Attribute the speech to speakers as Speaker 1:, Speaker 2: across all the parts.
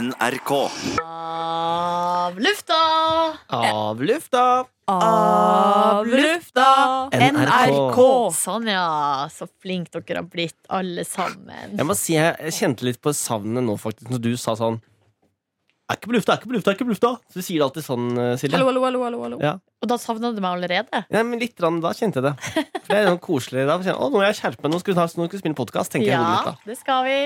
Speaker 1: NRK.
Speaker 2: Av lufta!
Speaker 3: Av lufta!
Speaker 4: Av lufta!
Speaker 3: NRK.
Speaker 2: Sånn, ja. Så flink dere har blitt, alle sammen.
Speaker 3: Jeg må si jeg kjente litt på savnet nå, faktisk, når du sa sånn Er ikke på lufta, er ikke på lufta, er ikke på lufta! Så du sier det alltid sånn, eh, Silje.
Speaker 4: Hallo, hallo, hallo. hallo, hallo.
Speaker 3: Ja.
Speaker 2: Og da savna du meg allerede?
Speaker 3: Nei, men litt rann, da kjente jeg det. For det er sånn koselig da. Kjenner, jeg, Å, nå er jeg skjerpet meg, nå skal vi, snart- nå skal vi spille podkast, tenker jeg i hodet
Speaker 2: Ja,
Speaker 3: mitt da.
Speaker 2: det skal vi.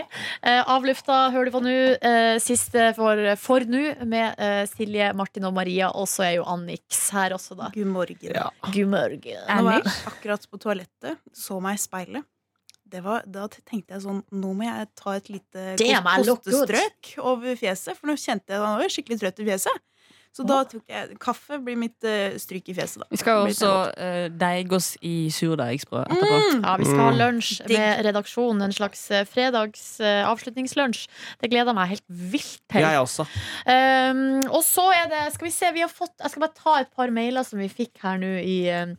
Speaker 2: Eh, av lufta hører du på nå. Eh, siste for, for nå med eh, Silje, Martin og Maria. Og så er jo Annix her også, da.
Speaker 4: God morgen.
Speaker 3: Ja.
Speaker 2: God morgen.
Speaker 4: Nå var jeg akkurat på toalettet, så meg i speilet. Det var, da tenkte jeg sånn Nå må jeg ta et lite
Speaker 2: Damn, I look good.
Speaker 4: kostestrøk over fjeset, for nå kjente jeg at jeg var skikkelig trøtt i fjeset. Så da tok jeg Kaffe blir mitt eh, stryk i fjeset, da.
Speaker 5: Vi skal jo
Speaker 4: Blir
Speaker 5: også eh, deige oss i surdeigsbrød etterpå.
Speaker 2: Ja, Vi skal ha
Speaker 3: Mm.
Speaker 2: lunsj
Speaker 4: Digg.
Speaker 2: med redaksjonen. En slags eh, fredags eh, avslutningslunsj. Det gleder jeg meg helt vilt til.
Speaker 3: Jeg også.
Speaker 2: Um, og så er det Skal vi se, vi har fått Jeg skal bare ta et par mailer som vi fikk her nå i um,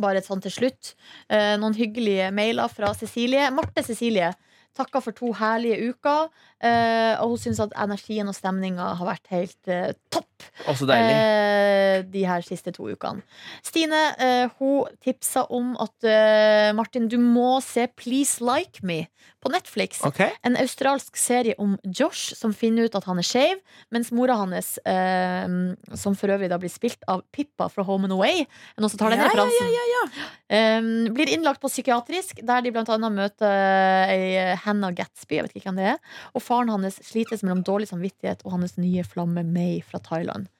Speaker 2: bare et sånn til slutt. Eh, noen hyggelige mailer fra Cecilie. Marte Cecilie takka for to herlige uker. eh, og hun syns at energien og stemninga har vært helt eh, topp
Speaker 3: Også deilig.
Speaker 2: eh, de her siste to ukene. Stine eh, hun tipsa om at eh, Martin, du må se Please Like Me på Netflix.
Speaker 3: Ok.
Speaker 2: En australsk serie om Josh som finner ut at han er skeiv, mens mora hans, eh, som for øvrig da blir spilt av Pippa fra Home and Away, er noen som tar den
Speaker 4: Ja, ja,
Speaker 2: referansen, Eh, blir innlagt på psykiatrisk, der de blant annet møter eh, ei Hannah Gatsby, jeg vet ikke hvem det er, og faren hans slites mellom dårlig samvittighet og hans nye flamme May fra Thailand.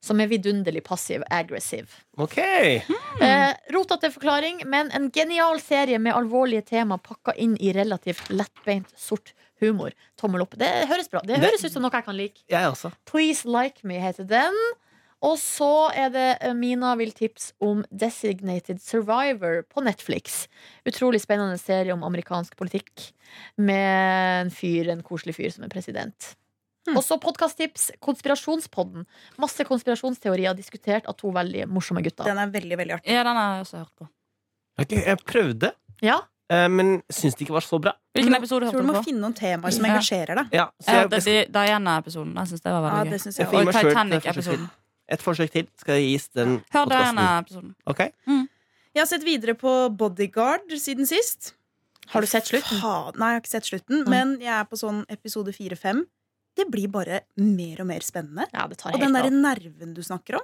Speaker 2: Som er vidunderlig passiv aggressiv.
Speaker 3: Ok.
Speaker 2: Eh, Rotete forklaring, men en genial serie med alvorlige tema pakka inn i relativt lettbeint sort humor. Tommel opp. Det høres bra. Det
Speaker 3: Det-
Speaker 2: høres ut som noe jeg kan like.
Speaker 3: Jeg også.
Speaker 2: Please Like Me heter den. Og så er det eh, Mina vil tipse om Designated Survivor på Netflix. Utrolig spennende serie om amerikansk politikk med en fyr, en koselig fyr som er president.
Speaker 4: Hmm.
Speaker 2: Og så podkasttips. Konspirasjonspodden. Masse konspirasjonsteorier diskutert av to veldig morsomme gutter.
Speaker 4: Den er veldig, veldig artig.
Speaker 5: Ja, den har jeg også hørt på.
Speaker 3: Ok, Jeg prøvde,
Speaker 2: Ja,
Speaker 3: eh, men syns det ikke var så bra.
Speaker 5: Hvilken episode
Speaker 4: Jeg
Speaker 5: hørte
Speaker 4: tror du
Speaker 5: du
Speaker 4: må
Speaker 5: på?
Speaker 4: finne noen temaer som
Speaker 5: Ja.
Speaker 4: engasjerer deg.
Speaker 3: Ja,
Speaker 2: Eh,
Speaker 3: så
Speaker 5: Jeg
Speaker 3: jeg,
Speaker 5: hørte Di- Diana-episoden. Jeg syns det var
Speaker 4: Ja,
Speaker 5: veldig
Speaker 4: det
Speaker 5: gøy.
Speaker 4: syns
Speaker 3: Jeg
Speaker 4: jeg
Speaker 3: får gi
Speaker 4: også.
Speaker 5: Og
Speaker 3: meg selv et
Speaker 5: Titanic-episoden.
Speaker 3: et forsøk til skal jeg gis den
Speaker 5: Hør
Speaker 3: podcasten.
Speaker 5: Diana-episoden.
Speaker 3: Ok?
Speaker 4: Jeg har sett videre på Bodyguard siden sist.
Speaker 2: Har du sett slutten?
Speaker 4: Faen, nei, jeg har ikke sett slutten, men jeg er på sånn episode 4-5. Det blir bare mer og mer spennende.
Speaker 2: Ja, det tar
Speaker 4: Og
Speaker 2: helt
Speaker 4: den derre
Speaker 2: av.
Speaker 4: nerven du snakker om,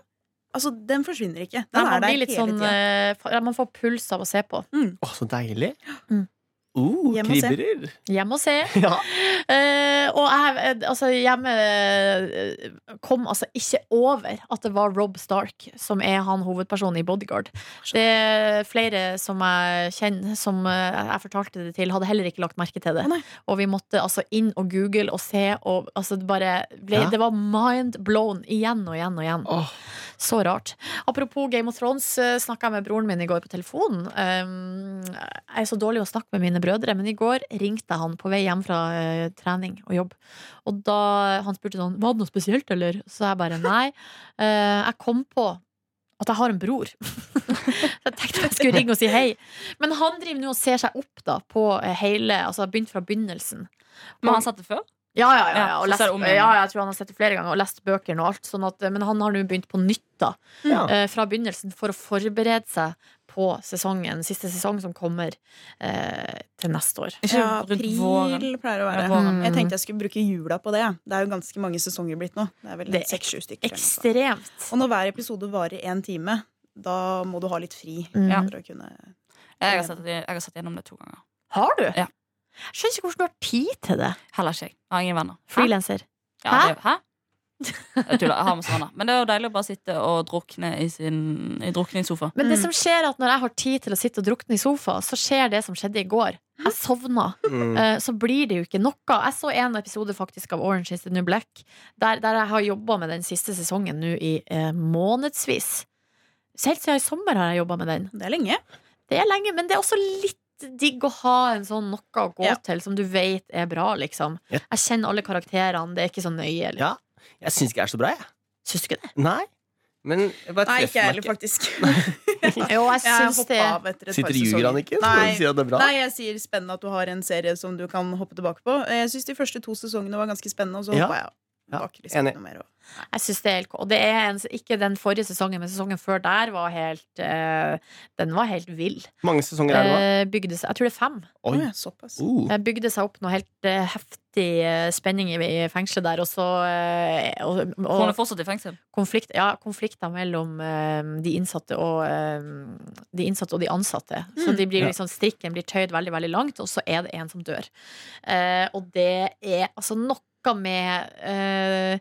Speaker 4: altså, den forsvinner ikke. Den
Speaker 2: Nei, man
Speaker 4: er der
Speaker 2: blir litt
Speaker 4: hele
Speaker 2: sånn
Speaker 4: tida.
Speaker 2: eh, fa- ja, Man får puls av å se på.
Speaker 3: Å, så deilig.
Speaker 2: Mm.
Speaker 3: Uh,
Speaker 4: Hjem og se.
Speaker 3: kribberer.
Speaker 2: Hjemme og se.
Speaker 3: Ja.
Speaker 2: Eh, og jeg, eh, altså, hjemme eh, kom altså ikke over at det var Rob Stark som er han hovedpersonen i Bodyguard. Det er flere som jeg kjenner, som eh, jeg fortalte det til, hadde heller ikke lagt merke til det.
Speaker 4: Å, nei.
Speaker 2: og vi måtte altså inn og google og se, og altså, det bare ble,
Speaker 3: Ja.
Speaker 2: Det var mind blown igjen og igjen og igjen.
Speaker 3: Åh.
Speaker 2: Så rart. Apropos Game of Thrones, snakka jeg med broren min i går på telefonen. Um, jeg er så dårlig å snakke med mine brødre, men i går ringte jeg han på vei hjem fra eh, trening og jobb. Og da han spurte sånn Var det noe spesielt, eller? Så jeg bare nei. Eh, jeg kom på at jeg har en bror. så jeg tenkte jeg skulle ringe og si hei. Men han driver nå og ser seg opp da på eh, hele Altså har begynt fra begynnelsen.
Speaker 5: Men han satt det før?
Speaker 2: Ja, ja, ja, ja,
Speaker 5: Ja,
Speaker 2: og
Speaker 5: så
Speaker 2: lest,
Speaker 5: ser det om
Speaker 2: ja,
Speaker 5: igjen.
Speaker 2: ja, jeg tror han har sett det flere ganger og lest bøkene og alt. Sånn at, men han har nå begynt på nytt da,
Speaker 3: Ja.
Speaker 2: eh, fra begynnelsen for å forberede seg på sesongen, siste sesong som kommer eh, til neste år.
Speaker 5: Ikke
Speaker 4: Ja,
Speaker 5: rundt våren.
Speaker 4: april pleier
Speaker 5: Ja,
Speaker 4: å være.
Speaker 5: våren.
Speaker 4: Jeg tenkte jeg skulle bruke jula på det. ja. Det er jo ganske mange sesonger blitt nå. Det er vel
Speaker 2: Det er
Speaker 4: seks-sju stykker. eller noe sånt.
Speaker 2: Ekstremt.
Speaker 4: Og når hver episode varer én time, da må du ha litt fri.
Speaker 2: Mm.
Speaker 5: Ja.
Speaker 4: For å kunne
Speaker 5: Jeg har, sett, det- jeg har sett gjennom det to ganger.
Speaker 2: Har du?
Speaker 5: Ja.
Speaker 2: Jeg skjønner ikke hvordan du har tid til det.
Speaker 5: Heller ikke jeg. Jeg har ingen venner. Hæ?
Speaker 2: Frilanser.
Speaker 5: Ja, det, hæ? Jeg tuller. Jeg har masse venner. Men det er jo deilig å bare sitte og drukne i sin i drukningssofa.
Speaker 2: Men det som skjer er at når jeg har tid til å sitte og drukne i sofa, så skjer det som skjedde i går. Jeg sovna.
Speaker 3: Mm.
Speaker 2: Eh, så blir det jo ikke noe. Jeg så en episode faktisk av Orange is the New Black, der, der jeg har jobba med den siste sesongen nå i eh, månedsvis. Så helt siden i sommer har jeg jobba med den.
Speaker 4: Det er lenge.
Speaker 2: Det er lenge, men det er også litt digg å ha en sånn noe å gå
Speaker 4: Ja.
Speaker 2: til som du vet er bra, liksom.
Speaker 3: Ja.
Speaker 2: Jeg kjenner alle karakterene, det er ikke så nøye. Eller.
Speaker 3: Ja. Jeg syns ikke jeg er så bra, jeg.
Speaker 2: Syns du ikke det?
Speaker 3: Nei. Men jeg bare
Speaker 4: Nei, ikke
Speaker 3: treffer meg
Speaker 4: jeg heller,
Speaker 3: ikke.
Speaker 4: faktisk.
Speaker 2: Jo, jeg
Speaker 4: Jeg
Speaker 2: syns det
Speaker 4: hoppa av etter et par
Speaker 3: Sitter ljuger han
Speaker 4: sesonger.
Speaker 3: ikke? Skal du si
Speaker 4: Nei.
Speaker 3: at det er bra?
Speaker 4: Nei, jeg sier spennende at du har en serie som du kan hoppe tilbake på. Jeg syns de første to sesongene var ganske spennende, og så
Speaker 3: Ja.
Speaker 4: hoppa jeg av. Det var ikke liksom
Speaker 3: enig.
Speaker 4: noe mer å-
Speaker 2: Jeg synes det er helt Og det er en, ikke den forrige sesongen, men sesongen før der var helt eh, Den var helt vill.
Speaker 3: Mange sesonger er det nå?
Speaker 2: Eh, bygde seg, jeg tror det er fem.
Speaker 3: Oi.
Speaker 4: Å, ja, såpass.
Speaker 3: Uh.
Speaker 2: Det bygde seg opp noe helt eh, heftig eh, spenning i, i fengselet der, og så eh, og,
Speaker 5: Hun
Speaker 2: og
Speaker 5: er fortsatt i fengsel.
Speaker 2: konflikt, ja, konflikter mellom eh, de innsatte og eh, De innsatte og de ansatte. Så de blir
Speaker 3: Ja.
Speaker 2: liksom, strikken blir tøyd veldig, veldig langt, og så er det en som dør. Eh, og det er altså noe med eh,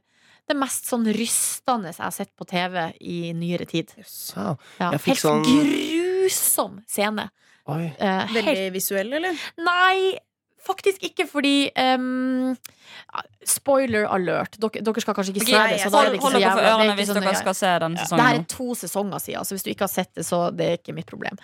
Speaker 2: det mest sånn rystende jeg har sett på TV i nyere tid.
Speaker 4: Jøss.
Speaker 3: Wow.
Speaker 2: Ja,
Speaker 3: Jeg fikk
Speaker 2: helt
Speaker 3: sånn-
Speaker 2: grusom scene.
Speaker 3: Oi.
Speaker 2: Eh, helt
Speaker 4: Veldig visuell, eller?
Speaker 2: Nei, faktisk ikke, fordi ehm, Spoiler alert. Dere, dere skal kanskje ikke
Speaker 5: Ok,
Speaker 2: se det,
Speaker 4: jeg-
Speaker 2: så da er
Speaker 5: Hold,
Speaker 2: det ikke
Speaker 5: hold
Speaker 2: så
Speaker 5: dere for
Speaker 2: jævla det er
Speaker 5: ørene
Speaker 2: ikke
Speaker 5: hvis
Speaker 2: så
Speaker 5: dere
Speaker 2: nøye.
Speaker 5: skal se den
Speaker 2: Det her
Speaker 5: sesongen.
Speaker 2: er to sesonger siden, så hvis du ikke har sett det, så det er ikke mitt problem.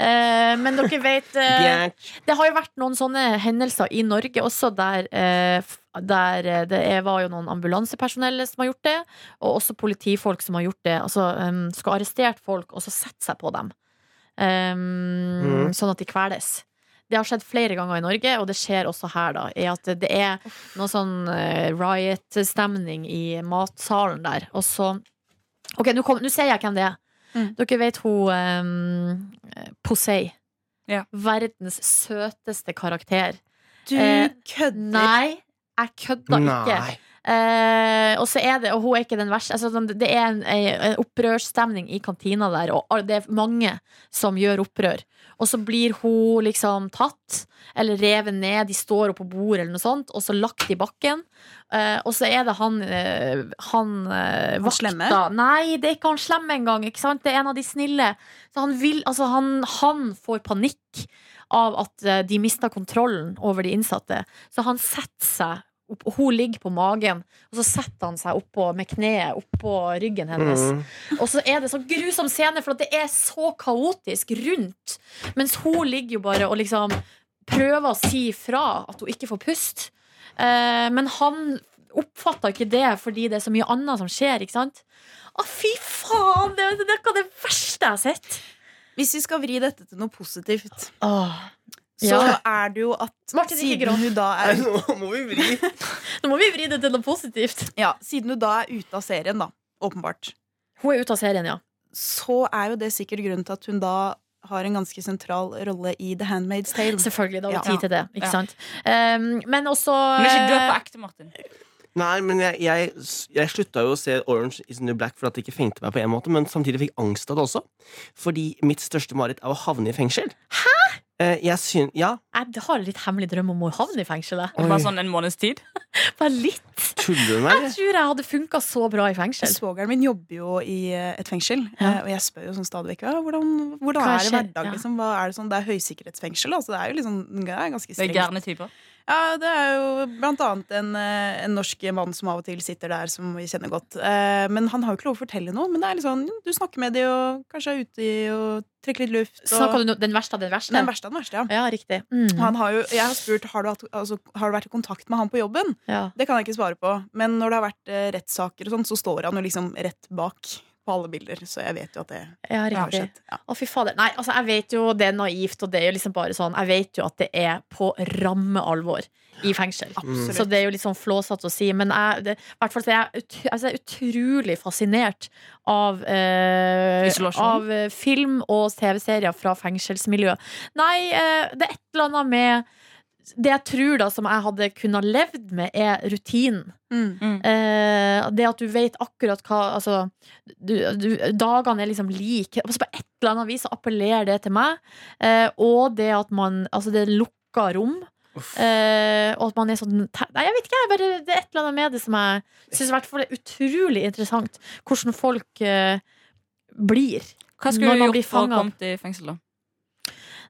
Speaker 2: Eh, men dere vet eh,
Speaker 3: Bjert.
Speaker 2: Det har jo vært noen sånne hendelser i Norge også, der, eh, f- der eh, det er, var jo noen ambulansepersonell som har gjort det, og også politifolk som har gjort det. Altså ehm, skal ha arrestert folk, og så sette seg på dem. Ehm,
Speaker 3: Mhm.
Speaker 2: Sånn at de kveles. Det har skjedd flere ganger i Norge, og det skjer også her, da. Er at det er noe sånn eh, riot-stemning i matsalen der, og så Ok, nå kom- nå sier jeg hvem det er.
Speaker 4: Mm.
Speaker 2: Dere vet hun um, Posei.
Speaker 5: Ja.
Speaker 2: Verdens søteste karakter.
Speaker 4: Du
Speaker 2: Eh,
Speaker 4: kødder!
Speaker 2: Nei, jeg kødda ikke.
Speaker 3: Nei.
Speaker 2: Eh, og så er det, og hun er ikke den verste altså, sånn, Det er en, en, en opprørsstemning i kantina der, og all- det er mange som gjør opprør. Og så blir hun liksom tatt, eller revet ned, de står opp på bordet eller noe sånt, og så lagt i bakken. Eh, og så er det han eh, Han, eh,
Speaker 4: Han
Speaker 2: vakta
Speaker 4: slemme?
Speaker 2: Nei, det er ikke han slemme engang. Ikke sant? Det er en av de snille. Så han vil Altså, han, han får panikk av at eh, de mister kontrollen over de innsatte. Så han setter seg opp, og Hun ligger på magen, og så setter han seg oppå med kneet oppå ryggen hennes.
Speaker 3: Mm.
Speaker 2: Og så er det så grusom scene, for at det er så kaotisk rundt. Mens hun ligger jo bare og liksom prøver å si fra at hun ikke får pust. Eh, men han oppfatter ikke det fordi det er så mye annet som skjer, ikke sant? Å, fy faen! Det er noe av det verste jeg har sett.
Speaker 4: Hvis vi skal vri dette til noe positivt,
Speaker 2: Åh.
Speaker 4: så
Speaker 2: Ja.
Speaker 4: er det jo at
Speaker 2: Martin, ikke
Speaker 4: siden
Speaker 2: gråt.
Speaker 4: hun da
Speaker 3: Nei,
Speaker 4: er
Speaker 3: Nå må vi vri.
Speaker 2: Nå må vi vri det til noe positivt.
Speaker 4: Ja, siden du da er ute av serien, da, åpenbart,
Speaker 2: Hun er ute av serien, ja.
Speaker 4: så er jo det sikkert grunnen til at hun da har en ganske sentral rolle i The Handmaid's Tale.
Speaker 2: Selvfølgelig. Da har vi
Speaker 4: Ja.
Speaker 2: tid til det. Ikke
Speaker 5: Ja.
Speaker 2: sant? Um, men også
Speaker 5: Men ikke dø på ekte, Martin.
Speaker 3: Nei, men jeg, jeg, jeg slutta jo å se Orange is the New Black fordi at det ikke fengte meg på en måte, men samtidig fikk angst av det også. Fordi mitt største mareritt er å havne i fengsel. Hæ? Jeg syn... Ja,
Speaker 2: eh, Jeg har en litt hemmelig drøm om å havne i fengselet.
Speaker 5: Det er Bare
Speaker 3: Oi.
Speaker 5: sånn en måneds tid.
Speaker 2: Bare litt.
Speaker 3: tuller du med meg?
Speaker 2: Jeg tror jeg hadde funka så bra i fengsel.
Speaker 4: Svogeren min jobber jo i eh, et fengsel,
Speaker 2: Ja.
Speaker 4: eh, og jeg spør jo sånn stadig vekk ja, hvordan, hvordan
Speaker 2: Hva
Speaker 4: er det i
Speaker 2: skjer?
Speaker 4: hverdagen.
Speaker 2: Ja.
Speaker 4: Liksom, hva er det, sånn? det er høysikkerhetsfengsel, altså. Det er jo liksom, det er ganske
Speaker 5: Det er
Speaker 4: strengt.
Speaker 5: gærne typer.
Speaker 4: Ja, det er jo blant annet en, eh, en norsk mann som av og til sitter der, som vi kjenner godt. Eh, Men han har jo ikke lov å fortelle noe. Men det er litt sånn, du snakker med de og kanskje er ute i, og trekker litt luft. Og,
Speaker 2: Snakka du Eh. om den verste av den verste?
Speaker 4: Den verste av den verste, ja.
Speaker 2: Ja, riktig. Mm.
Speaker 4: Og Han har jo, jeg har spurt har du, hatt, altså, har du vært i kontakt med han på jobben.
Speaker 2: Ja.
Speaker 4: Det kan jeg ikke svare på. Men når det har vært eh, rettssaker, og sånn, så står han jo liksom rett bak på alle bilder. Så jeg vet jo at det
Speaker 2: ja,
Speaker 4: har
Speaker 2: riktig.
Speaker 4: skjedd. Ja.
Speaker 2: Å, fy fader. Nei, altså, jeg vet jo det er naivt, og det er jo liksom bare sånn Jeg vet jo at det er på ramme alvor i fengsel.
Speaker 3: Mm.
Speaker 4: Absolutt.
Speaker 2: Så det er jo litt sånn flåsete å si, men jeg, det, i hvert fall så er jeg ut, altså, jeg er utrolig fascinert av, eh,
Speaker 5: Isolasjon?
Speaker 2: av eh, film og TV-serier fra fengselsmiljø. Nei, eh, det er et eller annet med det jeg tror da som jeg hadde kunnet levd med, er rutinen.
Speaker 4: Mm.
Speaker 2: Eh, det at du vet akkurat hva altså, du, du, Dagene er liksom like. Altså, på et eller annet vis så appellerer det til meg. Eh, og det at man Altså, det er lukka rom.
Speaker 3: Uff.
Speaker 2: Eh, og at man er sånn te- Nei, jeg vet ikke. Jeg bare, det er et eller annet med det som jeg syns i hvert fall er utrolig interessant. Hvordan folk eh, blir.
Speaker 5: Hva
Speaker 2: Når
Speaker 5: skulle du
Speaker 2: man blir
Speaker 5: gjort for å
Speaker 2: fanget.
Speaker 5: kommet i fengsel, da?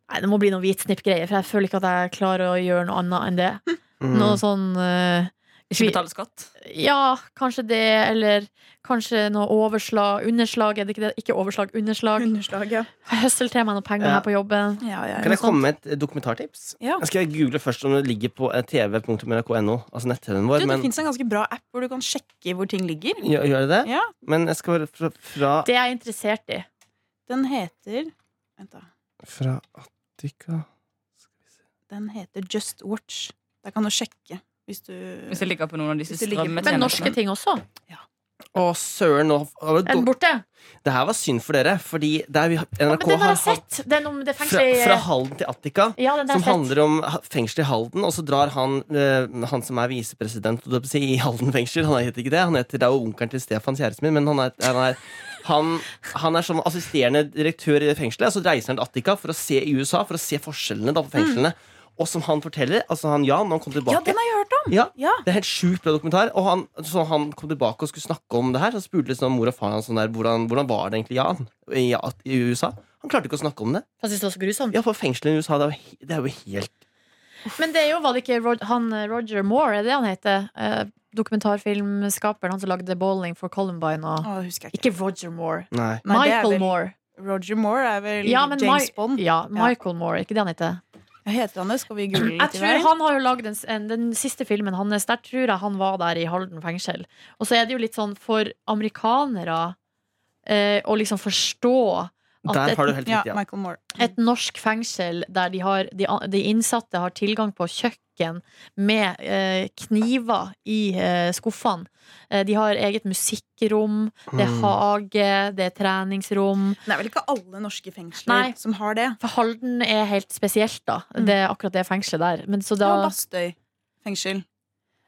Speaker 2: Nei, det må bli noe hvitsnippgreier, for jeg føler ikke at jeg klarer å gjøre noe annet enn det.
Speaker 3: Mm.
Speaker 2: Noe sånn eh,
Speaker 5: Ikke betale skatt.
Speaker 2: Ja, kanskje det, eller kanskje noe overslag, underslag, er det ikke det? Ikke overslag, underslag.
Speaker 4: Underslag, ja.
Speaker 2: Høssel til meg noe penger
Speaker 3: Ja.
Speaker 2: her på jobben.
Speaker 4: ja, ja,
Speaker 3: Kan
Speaker 4: ja.
Speaker 3: jeg komme med et eh, dokumentartips?
Speaker 4: Ja.
Speaker 3: Jeg skal google først om det ligger på eh, tv.nrk.no, altså nett-TV-en
Speaker 4: Du,
Speaker 3: vår.
Speaker 4: det
Speaker 3: Men,
Speaker 4: finnes en ganske bra app hvor du kan sjekke hvor ting ligger.
Speaker 3: gjør, gjør det det?
Speaker 4: Ja,
Speaker 3: Men jeg skal bare fra, fra,
Speaker 2: Det er jeg interessert i.
Speaker 4: Den heter Vent, da.
Speaker 3: fra Attica
Speaker 4: Den heter Just Watch. Der kan du sjekke hvis du
Speaker 5: Hvis det ligger på noen av disse
Speaker 4: Hvis det ligger på-
Speaker 2: Men norske
Speaker 5: strømmetjenestene.
Speaker 2: ting også.
Speaker 3: Å, søren! Nå, har
Speaker 2: Er den
Speaker 3: du-
Speaker 2: borte?
Speaker 3: det her var synd for dere, fordi der vi,
Speaker 2: Men
Speaker 3: NRK
Speaker 2: den har
Speaker 3: har
Speaker 2: jeg sett. Den om det
Speaker 3: fra,
Speaker 2: fengselet i-
Speaker 3: fra Halden til Attica.
Speaker 2: Ja, den har
Speaker 3: Som
Speaker 2: jeg sett.
Speaker 3: handler om ha- fengsel i Halden, og så drar han eh, Han som er visepresident holdt jeg på å si, i Halden fengsel. Han heter ikke det. Han heter, det er jo onkelen til Stefans kjæresten min, men han er, han er han, han er som assisterende direktør i det fengselet, og så reiser han til Attica for å se i USA for å se forskjellene da på fengslene. Og som han forteller, altså han Jan, når han kom
Speaker 4: Ja,
Speaker 3: tilbake
Speaker 4: den har jeg hørt om!
Speaker 3: Ja,
Speaker 4: Ja.
Speaker 3: det er helt sjukt bra dokumentar. Og han, så han kom tilbake og skulle snakke om det her. Så spurte liksom mor og far hans sånn der, hvordan, hvordan var det egentlig Jan i, i USA. Han klarte ikke å snakke om det.
Speaker 2: Jeg synes det var så grusomt.
Speaker 3: Ja, for fengselet i USA, det er jo, he- det er jo helt
Speaker 2: Men det er jo, var det ikke Rod, han eh, Roger Moore, er det han heter? Eh, dokumentarfilmskaperen, han som lagde Bowling for Columbine og
Speaker 4: Å, det husker jeg ikke.
Speaker 2: Ikke Roger Moore.
Speaker 3: Nei.
Speaker 4: Nei, det er
Speaker 2: Michael
Speaker 4: vel-
Speaker 2: Moore.
Speaker 4: Roger Moore er vel
Speaker 2: Ja, men
Speaker 4: James
Speaker 2: Mi-
Speaker 4: Bond.
Speaker 2: Ja, Michael Moore, ikke det han heter?
Speaker 4: Hva heter han det? Skal vi google litt
Speaker 2: Jeg tror han har jo lagd en, en, den siste filmen hans. Der tror jeg han var der i Halden fengsel. Og så er det jo litt sånn for amerikanere eh, å liksom forstå at
Speaker 3: Der
Speaker 2: et-
Speaker 3: har du helt
Speaker 4: Ja,
Speaker 3: riktig. Ja.
Speaker 4: Michael Moore.
Speaker 2: et norsk fengsel der de, har, de, an- de innsatte har tilgang på kjøkken med eh, kniver i eh, skuffene. Eh, de har eget musikkrom, det er
Speaker 3: Mm.
Speaker 2: hage, det er treningsrom.
Speaker 4: Det er vel ikke alle norske fengsler
Speaker 2: Nei.
Speaker 4: som har det.
Speaker 2: For Halden er helt spesielt, da.
Speaker 4: Mm.
Speaker 2: Det er akkurat det fengselet der. Men så da
Speaker 4: Og Bastøy fengsel.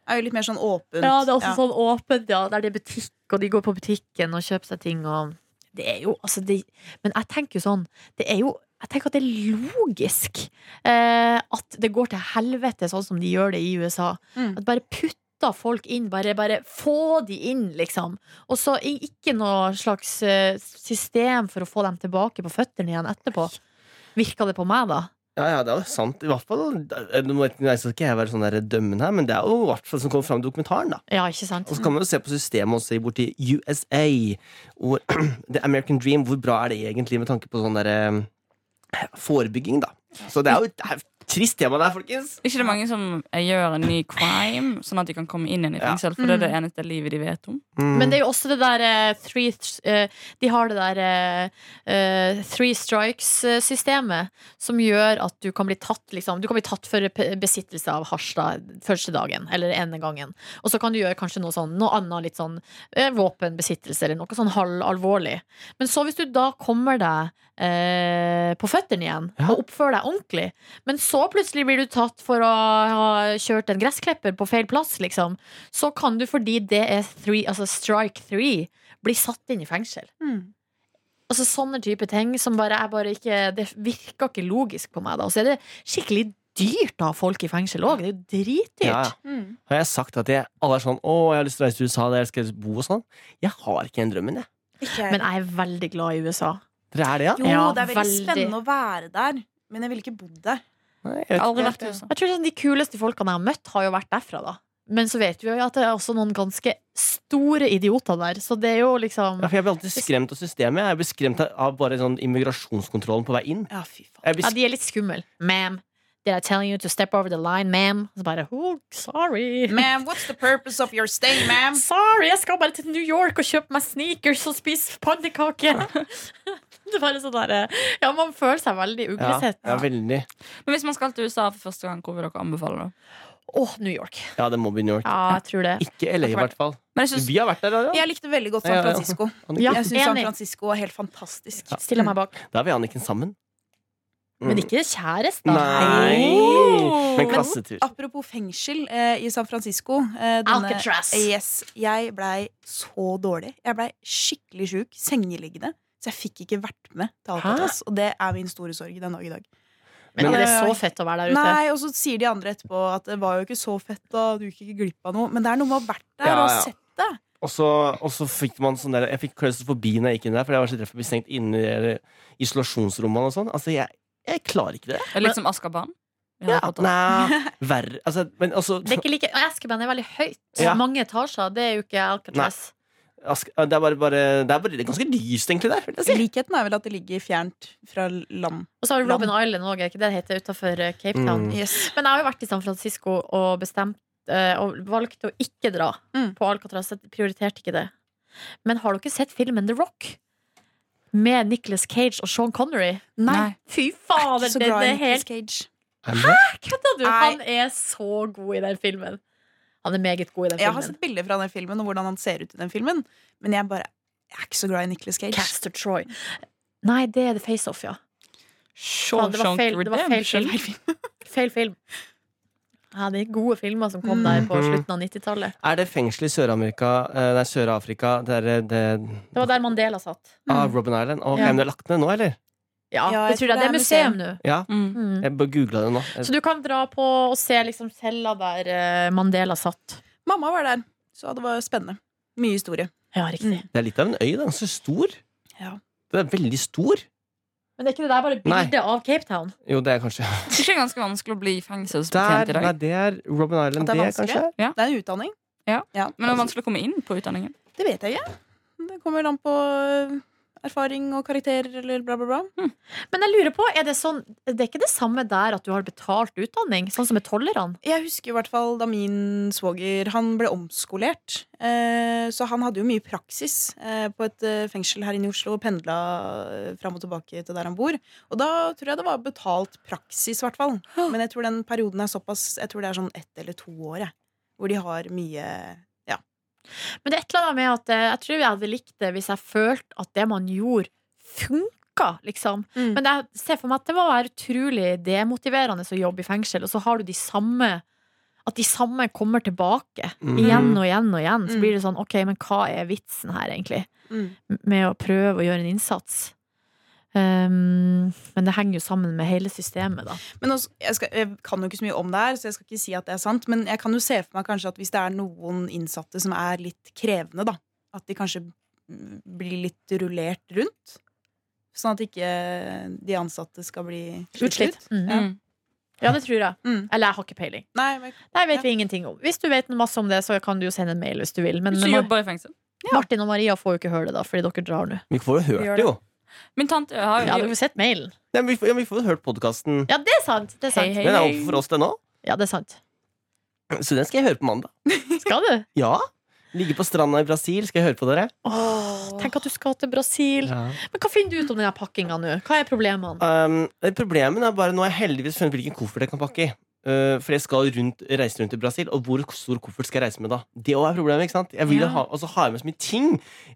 Speaker 4: Er jo litt mer sånn åpent.
Speaker 2: Ja, det er også
Speaker 4: Ja.
Speaker 2: sånn åpent, ja. Der det er butikk, og de går på butikken og kjøper seg ting og Det er jo altså det, Men jeg tenker jo sånn Det er jo jeg tenker at det er logisk eh, at det går til helvete sånn som de gjør det i USA.
Speaker 4: Mm.
Speaker 2: At bare putter folk inn, bare, bare få de inn, liksom. Og så i- ikke noe slags eh, system for å få dem tilbake på føttene igjen etterpå. Virka det på meg, da?
Speaker 3: Ja, ja, det er jo sant. I hvert fall eh, Nå vet- nå skal ikke jeg være sånn der dømmende her, men det er jo i hvert fall som kommer fram i dokumentaren. da
Speaker 2: Ja, ikke sant?
Speaker 3: Og så kan man jo se på systemet også i- borti USA. Hvor, The American Dream, hvor bra er det egentlig med tanke på sånn derre forebygging, da? Så det er jo et det er et trist tema der, folkens.
Speaker 5: Ikke det mange som eh, gjør en ny crime, sånn at de kan komme inn igjen i
Speaker 3: Ja.
Speaker 5: fengsel? For det er det eneste livet de vet om.
Speaker 3: Mm.
Speaker 2: Men det er jo også det der eh, three, eh, De har det der eh, eh, three strikes-systemet som gjør at du kan bli tatt liksom, Du kan bli tatt for pe- besittelse av hasj da, første dagen eller ene gangen. Og så kan du gjøre kanskje noe sånn Noe annet litt sånn eh, våpenbesittelse eller noe sånn halvalvorlig. Men så hvis du da kommer deg eh, på føttene igjen
Speaker 3: Ja.
Speaker 2: og oppfører deg ordentlig, men så plutselig blir du tatt for å ha kjørt en gressklipper på feil plass, liksom så kan du, fordi det er three, altså strike three, bli satt inn i fengsel.
Speaker 4: Mm.
Speaker 2: Altså Sånne type ting som bare, jeg bare ikke Det virka ikke logisk på meg. da Og så er det skikkelig dyrt å ha folk i fengsel òg. Det er jo dritdyrt.
Speaker 3: Ja, ja.
Speaker 4: Mm.
Speaker 3: Har jeg sagt at jeg, alle er sånn 'Å, jeg har lyst til å reise til USA, der skal jeg bo', og sånn? Jeg har ikke den drømmen, jeg.
Speaker 4: Ikke jeg.
Speaker 2: Men jeg er veldig glad i USA.
Speaker 3: Dere er det, ja?
Speaker 4: Jo,
Speaker 2: Ja,
Speaker 4: det er veldig,
Speaker 2: veldig.
Speaker 4: spennende å være der, men jeg ville ikke bodd der.
Speaker 3: Nei,
Speaker 5: Jeg
Speaker 3: jeg
Speaker 5: har
Speaker 3: vet.
Speaker 5: aldri
Speaker 4: Ja,
Speaker 5: vært i USA.
Speaker 2: Jeg tror sånn, De kuleste folkene jeg har møtt, har jo vært derfra. da Men så vet vi jo at det er også noen ganske store idioter der. Så det er jo liksom
Speaker 3: Ja, for jeg blir alltid skremt av systemet. Jeg blir skremt av bare sånn immigrasjonskontrollen på vei inn.
Speaker 4: Ja, fy faen.
Speaker 3: Jeg blir
Speaker 2: Ja, de er litt skumle. Ma'am, did I tell you to step over the line, ma'am? Og så bare oh, sorry.
Speaker 4: Ma'am, what's the purpose of your stay, ma'am?
Speaker 2: Sorry, jeg skal bare til New York og kjøpe meg sneakers og spise pannekake. det er bare sånn der, Ja, man føler seg veldig
Speaker 3: ja,
Speaker 2: uglesett.
Speaker 3: ja, veldig.
Speaker 5: Men hvis man skal til USA for første gang, hvor vil dere anbefale det?
Speaker 2: Åh, New York.
Speaker 3: Ja, det må bli New York.
Speaker 2: Ja, jeg tror det.
Speaker 3: Ikke LA, i hvert fall.
Speaker 5: Men jeg synes,
Speaker 3: Vi har vært der, ja.
Speaker 4: Jeg likte veldig godt
Speaker 3: Ja,
Speaker 4: San
Speaker 3: ja, ja.
Speaker 4: Francisco.
Speaker 3: Anniken.
Speaker 2: Ja.
Speaker 4: Jeg syns San
Speaker 2: enig.
Speaker 4: Francisco var helt fantastisk.
Speaker 2: Stiller meg bak.
Speaker 3: Da er vi Anniken sammen. Mm.
Speaker 2: Men ikke kjæresten.
Speaker 3: Nei! Men klassetur.
Speaker 4: Apropos fengsel eh, i San Francisco. Eh,
Speaker 2: Alcatraz.
Speaker 4: yes, jeg blei så dårlig. Jeg blei skikkelig sjuk, sengeliggende. Så jeg fikk ikke vært med til Alcatraz. Og det er min store sorg den dag i dag.
Speaker 2: Men
Speaker 3: Men-
Speaker 2: det er så fett å være der ute.
Speaker 4: Nei, Og så sier de andre etterpå at det var jo ikke så fett, da. Du gikk ikke glipp av noe. Men det er noe med å ha vært der
Speaker 3: Ja,
Speaker 4: og
Speaker 3: ja.
Speaker 4: sett det.
Speaker 3: Og så, og så fikk man sånn der Jeg fikk klaustrofobi når jeg gikk inn der, for jeg var så redd for å bli stengt inne i de der isolasjonsrommene og sånn. Altså, jeg, jeg klarer ikke det.
Speaker 5: Litt som Askaban. i Harry Potter.
Speaker 3: Nei, verre altså, Men altså
Speaker 2: Det er ikke like, og Eskeban er veldig høyt.
Speaker 3: Ja.
Speaker 2: Mange etasjer. Det er jo ikke Alcatraz.
Speaker 3: Ask, det, er bare, bare, det er bare det er ganske lyst, egentlig, der. Vil jeg si.
Speaker 4: Likheten er vel at det ligger fjernt fra land.
Speaker 2: Og så har du Robin Island òg, ikke det det heter, utafor Cape Town. Men
Speaker 3: Mm.
Speaker 2: jeg har jo vært i San Francisco og bestemt eh, og valgte å ikke dra
Speaker 4: Mm.
Speaker 2: på Alcatraz. Jeg prioriterte ikke det. Men har dere sett filmen The Rock? Med Nicolas Cage og Sean Connery?
Speaker 5: Nei.
Speaker 2: Fy fader, det, det er helt
Speaker 4: Cage.
Speaker 2: Kødda du?
Speaker 4: Nei.
Speaker 2: Han er så god i den filmen. Han er meget god i den
Speaker 4: Jeg har
Speaker 2: filmen.
Speaker 4: sett bilder fra den filmen og hvordan han ser ut i den filmen, men jeg bare jeg er ikke så glad i Nicolas Cage.
Speaker 2: Caster Troy. Nei, det er The Face-Off, ja. Faen, det var
Speaker 5: Shawshank
Speaker 2: feil- det var feil
Speaker 5: Redemption.
Speaker 2: film. Feil film. Ja, det er gode filmer som kom der på
Speaker 3: Mhm.
Speaker 2: slutten av 90-tallet.
Speaker 3: Er det fengselet i Sør-Amerika eh, Nei, Sør-Afrika Det er eh, det,
Speaker 2: Det var der Mandela satt.
Speaker 3: ah, Robin Island. Ok,
Speaker 2: Ja.
Speaker 3: Men det er lagt ned nå, eller?
Speaker 2: Ja,
Speaker 4: Ja,
Speaker 2: det
Speaker 4: jeg
Speaker 2: tror jeg. Det er museum nå.
Speaker 3: Ja.
Speaker 5: Mm.
Speaker 2: Mm.
Speaker 3: Jeg bare googla det nå.
Speaker 2: Så du kan dra på og se liksom cella der eh, Mandela satt.
Speaker 4: Mamma var der, så det var spennende. Mye historie.
Speaker 2: Ja, riktig.
Speaker 3: Det er litt av en øy. Det er ganske stor.
Speaker 4: Ja.
Speaker 3: Det er veldig stor.
Speaker 2: Men det er ikke det der bare bildet av Cape Town?
Speaker 3: Jo, det er kanskje
Speaker 5: Det er ikke ganske vanskelig å bli fengselsbetjent
Speaker 3: Der,
Speaker 5: i dag.
Speaker 3: nei, det er Robin Island,
Speaker 4: At
Speaker 3: det,
Speaker 4: det er
Speaker 3: kanskje?
Speaker 4: vanskelig? Det er en utdanning.
Speaker 5: Ja. Men det er vanskelig å komme inn på utdanningen.
Speaker 4: Det vet jeg ikke. Det kommer an på øh, erfaring og karakterer eller bla, bla, bla.
Speaker 2: Men jeg lurer på, er det sånn Det er ikke det samme der at du har betalt utdanning, sånn som med tollerne?
Speaker 4: Jeg husker i hvert fall da min svoger Han ble omskolert. Eh, så han hadde jo mye praksis eh, på et eh, fengsel her inne i Oslo og pendla eh, fram og tilbake til der han bor. Og da tror jeg det var betalt praksis, i hvert fall. Men jeg tror den perioden er såpass Jeg tror det er sånn ett eller to år, jeg. Hvor de har mye
Speaker 2: Men det er et eller annet med at eh, jeg tror jeg hadde likt det hvis jeg følte at det man gjorde, funka, liksom.
Speaker 4: Men
Speaker 2: Men jeg ser for meg at det må være utrolig demotiverende å jobbe i fengsel, og så har du de samme At de samme kommer tilbake
Speaker 3: Mm.
Speaker 2: igjen og igjen og igjen. Så
Speaker 4: Mm.
Speaker 2: blir det sånn, OK, men hva er vitsen her, egentlig?
Speaker 4: mm.
Speaker 2: Med å prøve å gjøre en innsats. Um, men det henger jo sammen med hele systemet, da.
Speaker 4: Men også, jeg, skal, jeg kan jo ikke så mye om det her, så jeg skal ikke si at det er sant. Men jeg kan jo se for meg kanskje at hvis det er noen innsatte som er litt krevende, da, at de kanskje mm, blir litt rullert rundt. Sånn at ikke de ansatte skal bli
Speaker 2: Utslitt.
Speaker 4: ut.
Speaker 2: Mm.
Speaker 5: Mm.
Speaker 2: Ja, det tror jeg.
Speaker 4: Mm.
Speaker 2: Eller jeg har ikke peiling.
Speaker 4: Nei, men
Speaker 2: Det vet
Speaker 4: Ja.
Speaker 2: vi ingenting om. Hvis du vet noe masse om det, så kan du jo sende en mail hvis du vil. Men
Speaker 5: Hvis du
Speaker 2: Mar-
Speaker 5: jobber i fengsel.
Speaker 2: Martin og Maria får jo ikke høre det, da, fordi dere drar nå.
Speaker 3: Vi får jo hørt
Speaker 4: Gjør
Speaker 3: det,
Speaker 4: det.
Speaker 3: jo.
Speaker 5: Min tante har
Speaker 2: Ja,
Speaker 5: jo
Speaker 2: dere har sett mailen.
Speaker 3: Nei, men vi, får, ja, vi får jo hørt podkasten.
Speaker 2: Ja, det er sant. Det er sant.
Speaker 5: Hei, hei.
Speaker 3: Den er oppe for oss, den òg.
Speaker 2: Ja, det er sant.
Speaker 3: Så den skal jeg høre på mandag.
Speaker 2: Skal du?
Speaker 3: Ja. Ligge på stranda i Brasil. Skal jeg høre på dere?
Speaker 2: Åh, tenk at du skal til Brasil. Men hva finner du ut om denne pakkinga nå? Hva er problemene?
Speaker 3: Um, problemet er bare Nå har jeg heldigvis funnet hvilken koffert jeg kan pakke i. Uh, for jeg skal rundt, reise rundt i Brasil, og hvor stor koffert skal jeg reise med da? Det også er problemet, ikke sant? Jeg vil jo
Speaker 5: Ja.
Speaker 3: ha, og så har jeg med så mye ting.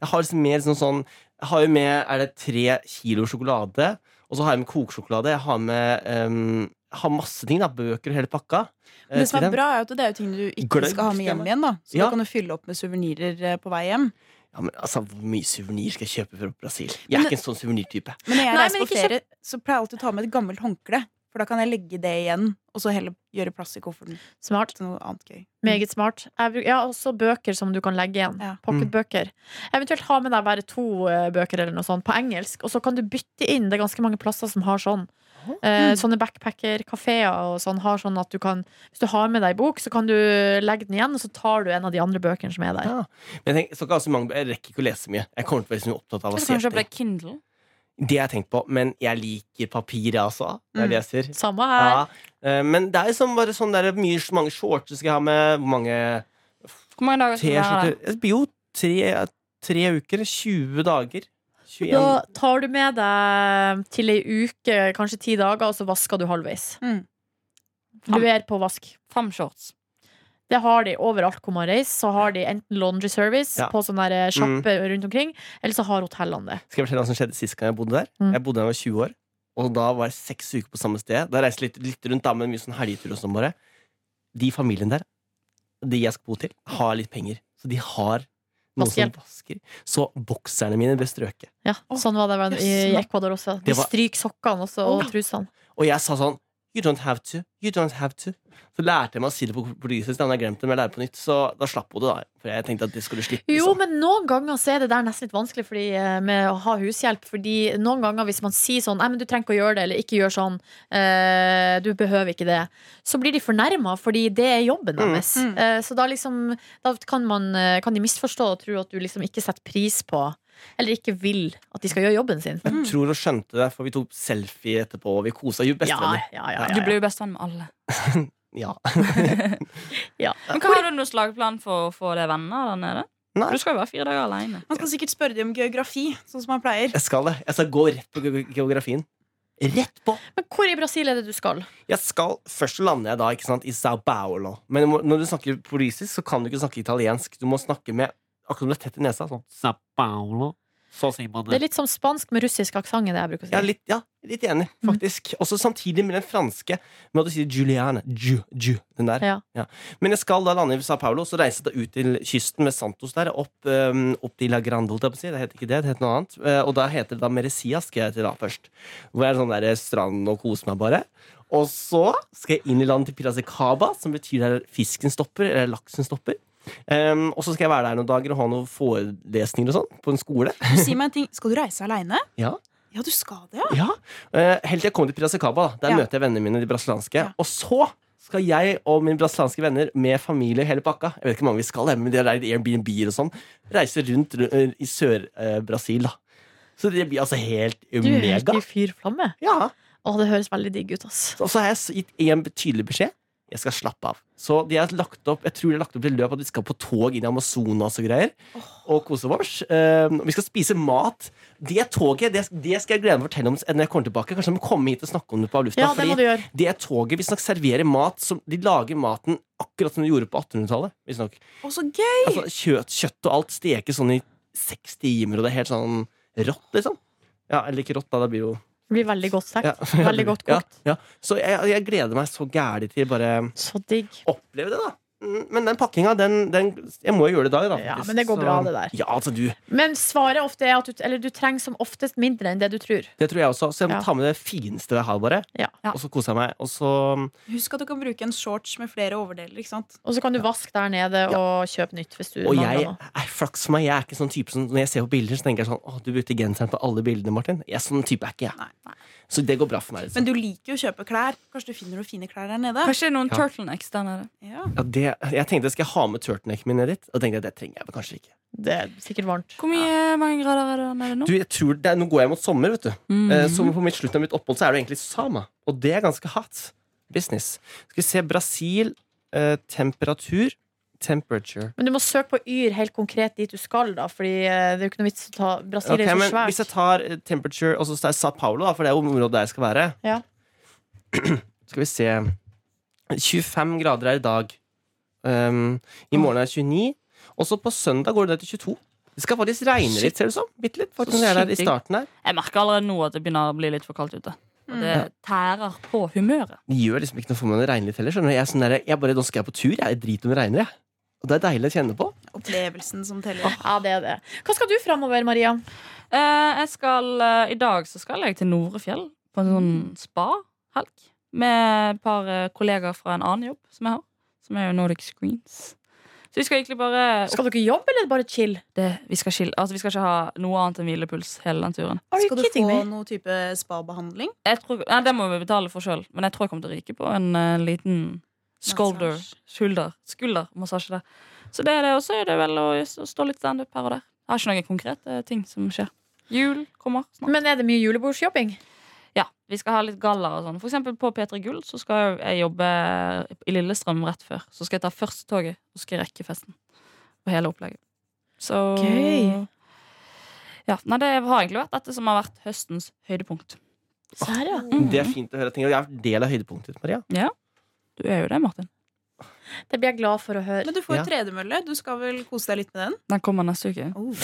Speaker 3: Jeg har liksom mer sånn sånn Jeg har jo med er det tre kilo sjokolade, og så har jeg med kokesjokolade. Jeg har med um, har masse ting. da, Bøker og hele pakka. eh,
Speaker 4: det som
Speaker 3: til
Speaker 4: er
Speaker 3: dem.
Speaker 4: bra, er jo at det er jo ting du ikke
Speaker 3: Gløgg,
Speaker 4: skal ha med hjem
Speaker 3: stemmer.
Speaker 4: igjen. da Så
Speaker 3: Ja.
Speaker 4: da kan du fylle opp med suvenirer eh, på vei hjem.
Speaker 3: Ja, men altså, Hvor mye suvenir skal jeg kjøpe fra Brasil? Jeg er ikke en sånn suvenirtype.
Speaker 4: Men når jeg
Speaker 2: Nei,
Speaker 4: reiser
Speaker 2: men
Speaker 4: på
Speaker 2: ikke kjøp-
Speaker 4: ferie, så pleier jeg alltid å ta med et gammelt håndkle. For da kan jeg legge det igjen, og så heller gjøre plass i kofferten
Speaker 2: Smart.
Speaker 4: til noe annet gøy.
Speaker 2: Meget smart. Jeg bruk- Ja, også bøker som du kan legge igjen.
Speaker 4: Mm. Ja.
Speaker 2: Pocketbøker. Eventuelt ha med deg bare to eh, bøker eller noe sånt på engelsk, og så kan du bytte inn. Det er ganske mange plasser som har sånn. Eh, sånne backpacker-kafeer og sånn har sånn at du kan Hvis du har med deg bok, så kan du legge den igjen, og så tar du en av de andre bøkene som er der.
Speaker 3: Ja. Men jeg, tenker, jeg, skal ikke ha så mange, bø- jeg rekker ikke å lese mye. Jeg kommer til å være så mye opptatt av å
Speaker 5: Du
Speaker 3: se
Speaker 5: kan
Speaker 3: etter.
Speaker 5: kjøpe deg Kindle.
Speaker 3: Det har jeg tenkt på, men jeg liker papir, jeg også. Jeg
Speaker 4: Mm.
Speaker 3: leser.
Speaker 2: Samme her.
Speaker 3: Ja. eh, Men det er liksom bare sånn der, mye, mange shorts du skal jeg ha med. Hvor mange
Speaker 5: Hvor mange dager skal du være
Speaker 3: T-skjorter
Speaker 5: der?
Speaker 3: Det blir jo tre, tre uker. 20 dager. 21.
Speaker 2: Da tar du med deg til ei uke, kanskje ti dager, og så vasker du halvveis.
Speaker 4: Mm.
Speaker 2: Lever på vask.
Speaker 5: Fem shorts.
Speaker 2: Det har de overalt hvor man reiser. Så har de enten laundry service
Speaker 3: Ja. Mm.
Speaker 2: på sånne der sjappe rundt omkring, eller så har hotellene det.
Speaker 3: Skal jeg fortelle hva som skjedde sist gang jeg bodde der?
Speaker 2: Mm.
Speaker 3: Jeg bodde da jeg var 20 år, og da var jeg seks uker på samme sted. Da reiste jeg litt, litt rundt, da, men mye sånn helgetur og sånn bare. De familien der, de jeg skal bo til, har litt penger. Så de har noen som
Speaker 2: Vaskehjelp.
Speaker 3: vasker. Så bokserne mine ble strøket.
Speaker 2: Ja, Sånn var det vel i
Speaker 4: jøss.
Speaker 2: Ecuador også. De
Speaker 3: Det var-
Speaker 2: stryker sokkene også, og trusene.
Speaker 3: Og jeg sa sånn You don't have to. You don't have to. Så lærte jeg meg å si det på portugisisk. da, men Jeg glemte det, men jeg lærer på nytt. Så da slapp hun det, da. For jeg tenkte at det skulle du slippe.
Speaker 2: Jo,
Speaker 3: liksom.
Speaker 2: men noen ganger så er det der nesten litt vanskelig fordi, eh, med å ha hushjelp. Fordi noen ganger hvis man sier sånn Nei, men du trenger ikke å gjøre det, eller ikke gjør sånn, eh, du behøver ikke det, så blir de fornærma, fordi det er jobben
Speaker 3: Mm.
Speaker 2: deres.
Speaker 4: Mm.
Speaker 2: Eh, så da liksom Da kan, man, eh, kan de misforstå og tro at du liksom ikke setter pris på eller ikke vil at de skal gjøre jobben sin.
Speaker 3: Jeg tror hun skjønte det, for vi tok selfie etterpå, og vi kosa
Speaker 2: Ja,
Speaker 3: jo bestevenner.
Speaker 2: ja, ja,
Speaker 5: Du
Speaker 2: ja, ja.
Speaker 5: blir jo bestevenn med alle.
Speaker 3: Ja.
Speaker 5: Men Hva har du noen slagplan for å få deg venner der nede?
Speaker 3: Nei.
Speaker 5: Du skal jo være fire dager alene.
Speaker 4: Man skal sikkert spørre dem om geografi, sånn som man pleier.
Speaker 3: Jeg skal det. Jeg skal gå rett på ge- geografien. Rett på!
Speaker 2: Men hvor i Brasil er det du skal?
Speaker 3: Jeg skal, Først lander jeg da ikke sant, i Sao Paulo. Men jeg må- når du snakker portugisisk, så kan du ikke snakke italiensk. Du må snakke med akkurat som du er tett i nesa. Sånn.
Speaker 1: São Paulo. Så sier man
Speaker 2: Det er
Speaker 1: det.
Speaker 2: litt som spansk med russisk aksent, det jeg bruker å si.
Speaker 3: Ja, litt, ja, litt enig, faktisk. Også samtidig med den franske. Med at du sier Juliane. Ju, ju, den der.
Speaker 2: Ja.
Speaker 3: Men jeg skal da lande i Sao Paulo, så reiser jeg da ut til kysten med Santos der. Opp, ehm, opp til La Grande, holdt jeg på å si. Det heter ikke det, det heter noe annet. Eh, og da heter det da Merecia, skal jeg til da først. Hvor jeg er sånn der strand og koser meg bare. Og så skal jeg inn i land til Piracicaba, som betyr der fisken stopper, eller laksen stopper. Ehm, og så skal jeg være der noen dager og ha noen forelesninger og sånn på en skole.
Speaker 4: Du sier meg en ting. Skal du reise aleine?
Speaker 3: Ja.
Speaker 4: Ja, du skal det, ja.
Speaker 3: Ja, eh, Helt til jeg kommer til Piracicaba. da. Der
Speaker 4: Ja.
Speaker 3: møter jeg vennene mine, de brasilianske.
Speaker 4: Ja.
Speaker 3: Og så skal jeg og mine brasilianske venner med familie og hele pakka Jeg vet ikke hvor mange vi skal, men de har leid Airbnb-er og sånn. Reise rundt ru- eh, i Sør-Brasil, da. Så det blir altså helt
Speaker 2: Du er helt
Speaker 3: mega.
Speaker 2: i fyr flamme.
Speaker 3: Ja.
Speaker 2: Å, det høres veldig digg ut, ass.
Speaker 3: Og så har jeg s- gitt én tydelig beskjed. Jeg skal slappe av. Så de har lagt opp, jeg tror de har lagt opp til løp at vi skal på tog inn i Amazonas og greier. Og kose oss. Eh, vi skal spise mat. Det toget det, det skal jeg glede meg å fortelle om når jeg kommer tilbake. Kanskje jeg må komme hit og snakke om det på lufta.
Speaker 2: Ja, det
Speaker 3: fordi
Speaker 2: må du gjøre.
Speaker 3: det toget visstnok serverer mat som De lager maten akkurat som de gjorde på 1800-tallet. visstnok.
Speaker 4: Å, så gøy!
Speaker 3: Altså, kjøtt, kjøtt og alt stekes sånn i seks timer, og det er helt sånn rått, liksom. Ja, eller ikke rått, da. Det blir jo
Speaker 2: Det blir veldig godt stekt.
Speaker 3: ja.
Speaker 2: Veldig godt kokt.
Speaker 3: Ja, ja. Så jeg, jeg gleder meg så gæli til bare
Speaker 2: Så digg.
Speaker 3: oppleve det, da. Mm, Men den pakkinga, den, den Jeg må jo gjøre det i dag, da.
Speaker 2: Ja,
Speaker 3: faktisk.
Speaker 2: men det går
Speaker 3: Så-
Speaker 2: bra, det der.
Speaker 3: Ja, altså, du.
Speaker 2: Men svaret ofte er at du, eller du trenger som oftest mindre enn det du tror.
Speaker 3: Det tror jeg også. Så jeg må
Speaker 2: Ja.
Speaker 3: ta med det fineste jeg har, bare.
Speaker 2: Ja.
Speaker 5: Ja.
Speaker 3: Og så koser jeg meg. Og så
Speaker 4: Husk at du kan bruke en shorts med flere overdeler. ikke sant?
Speaker 2: Og så kan du vaske der nede og kjøpe nytt hvis du
Speaker 3: Og
Speaker 2: mangler
Speaker 3: jeg
Speaker 2: noe.
Speaker 3: er flaks for meg. Jeg er ikke sånn type som når jeg ser på bilder, så tenker jeg sånn Å, du brukte genseren på alle bildene, Martin. Jeg er sånn type er ikke jeg.
Speaker 4: Nei.
Speaker 3: Så det går bra for meg.
Speaker 4: Men
Speaker 3: Liksom.
Speaker 4: du liker jo å kjøpe klær. Kanskje du finner noen fine klær der nede?
Speaker 5: Kanskje noen
Speaker 3: Ja.
Speaker 5: turtlenecks der nede.
Speaker 4: Ja.
Speaker 3: Ja, det, jeg tenkte skal jeg ha med turtlenecken min ned dit, og tenkte jeg det trenger jeg vel kanskje ikke.
Speaker 2: Det er sikkert varmt.
Speaker 5: Hvor mye, mange grader er det der nede nå?
Speaker 3: Du, jeg tror det er, Nå går jeg mot sommer, vet du.
Speaker 2: Mm.
Speaker 5: Mhm.
Speaker 3: Eh, Så på mitt slutten av mitt opphold så er det egentlig sama. Og det er ganske hot business. Skal vi se Brasil, eh, temperatur Temperature.
Speaker 2: Men du må søke på Yr helt konkret dit du skal, da. Fordi eh, det er jo ikke noe vits å ta Brasil
Speaker 3: Ok,
Speaker 2: er
Speaker 3: men
Speaker 2: så svært.
Speaker 3: hvis jeg tar eh, temperature og så er Sa Paulo, da, for det er jo området der jeg skal være
Speaker 2: Ja.
Speaker 3: Skal vi se 25 grader er i dag. Um, I morgen er det 29. Og så på søndag går det ned til 22. Det skal faktisk regne litt, ser det ut som. Bitte litt. Faktisk,
Speaker 5: Så
Speaker 3: når jeg er der i
Speaker 5: sykt digg.
Speaker 3: starten her.
Speaker 5: Jeg merker allerede nå at det begynner å bli litt for kaldt ute. Og det tærer på humøret.
Speaker 3: Det gjør liksom ikke noe for meg når det regner litt heller. skjønner du. Jeg, er sånn der, jeg bare, Nå skal jeg på tur. Jeg driter om det regner, jeg. Og det er deilig å kjenne på.
Speaker 4: Opplevelsen som teller.
Speaker 2: Ja, det er det. Hva skal du framover, Maria?
Speaker 5: Eh, jeg skal, eh, I dag så skal jeg til Norefjell på en sånn spa-helg. Med et par eh, kollegaer fra en annen jobb som jeg har. Som er jo Nordic Screens. Så vi skal egentlig bare
Speaker 2: Skal dere jobbe, eller bare chill?
Speaker 5: det, vi, skal skille, altså vi skal ikke ha noe annet enn hvilepuls hele den turen.
Speaker 2: Are
Speaker 4: Skal
Speaker 2: you
Speaker 4: du
Speaker 2: kidding
Speaker 4: få
Speaker 2: me?
Speaker 4: noe type spabehandling?
Speaker 5: Jeg tror, nei, det må vi betale for sjøl, men jeg tror jeg kommer til å ryke på en eh, liten scolder,
Speaker 4: Massasje.
Speaker 5: skulder, skuldermassasje der. Så det er det også. er Det vel å å stå litt standup her og der. Jeg har ikke noen konkrete ting som skjer. Jul kommer snart.
Speaker 2: Men er det mye julebordsjobbing?
Speaker 5: Ja, vi skal ha litt galler og sånn. For eksempel på P3 Gull så skal jeg jobbe i Lillestrøm rett før. Så skal jeg ta første toget, og så skal jeg rekke festen. Og hele opplegget. Så
Speaker 2: Gøy.
Speaker 5: Ja, nei, det har egentlig vært dette som har vært høstens høydepunkt.
Speaker 2: Se her, ja.
Speaker 4: Mm.
Speaker 3: Det er fint å høre. ting, og Jeg er en del av høydepunktet ditt, Maria.
Speaker 5: Du er jo det, Martin.
Speaker 2: Det blir jeg glad for å høre.
Speaker 4: Men du får
Speaker 3: Ja.
Speaker 4: tredemølle. Du skal vel kose deg litt med den?
Speaker 5: Den kommer neste uke.
Speaker 4: Oh.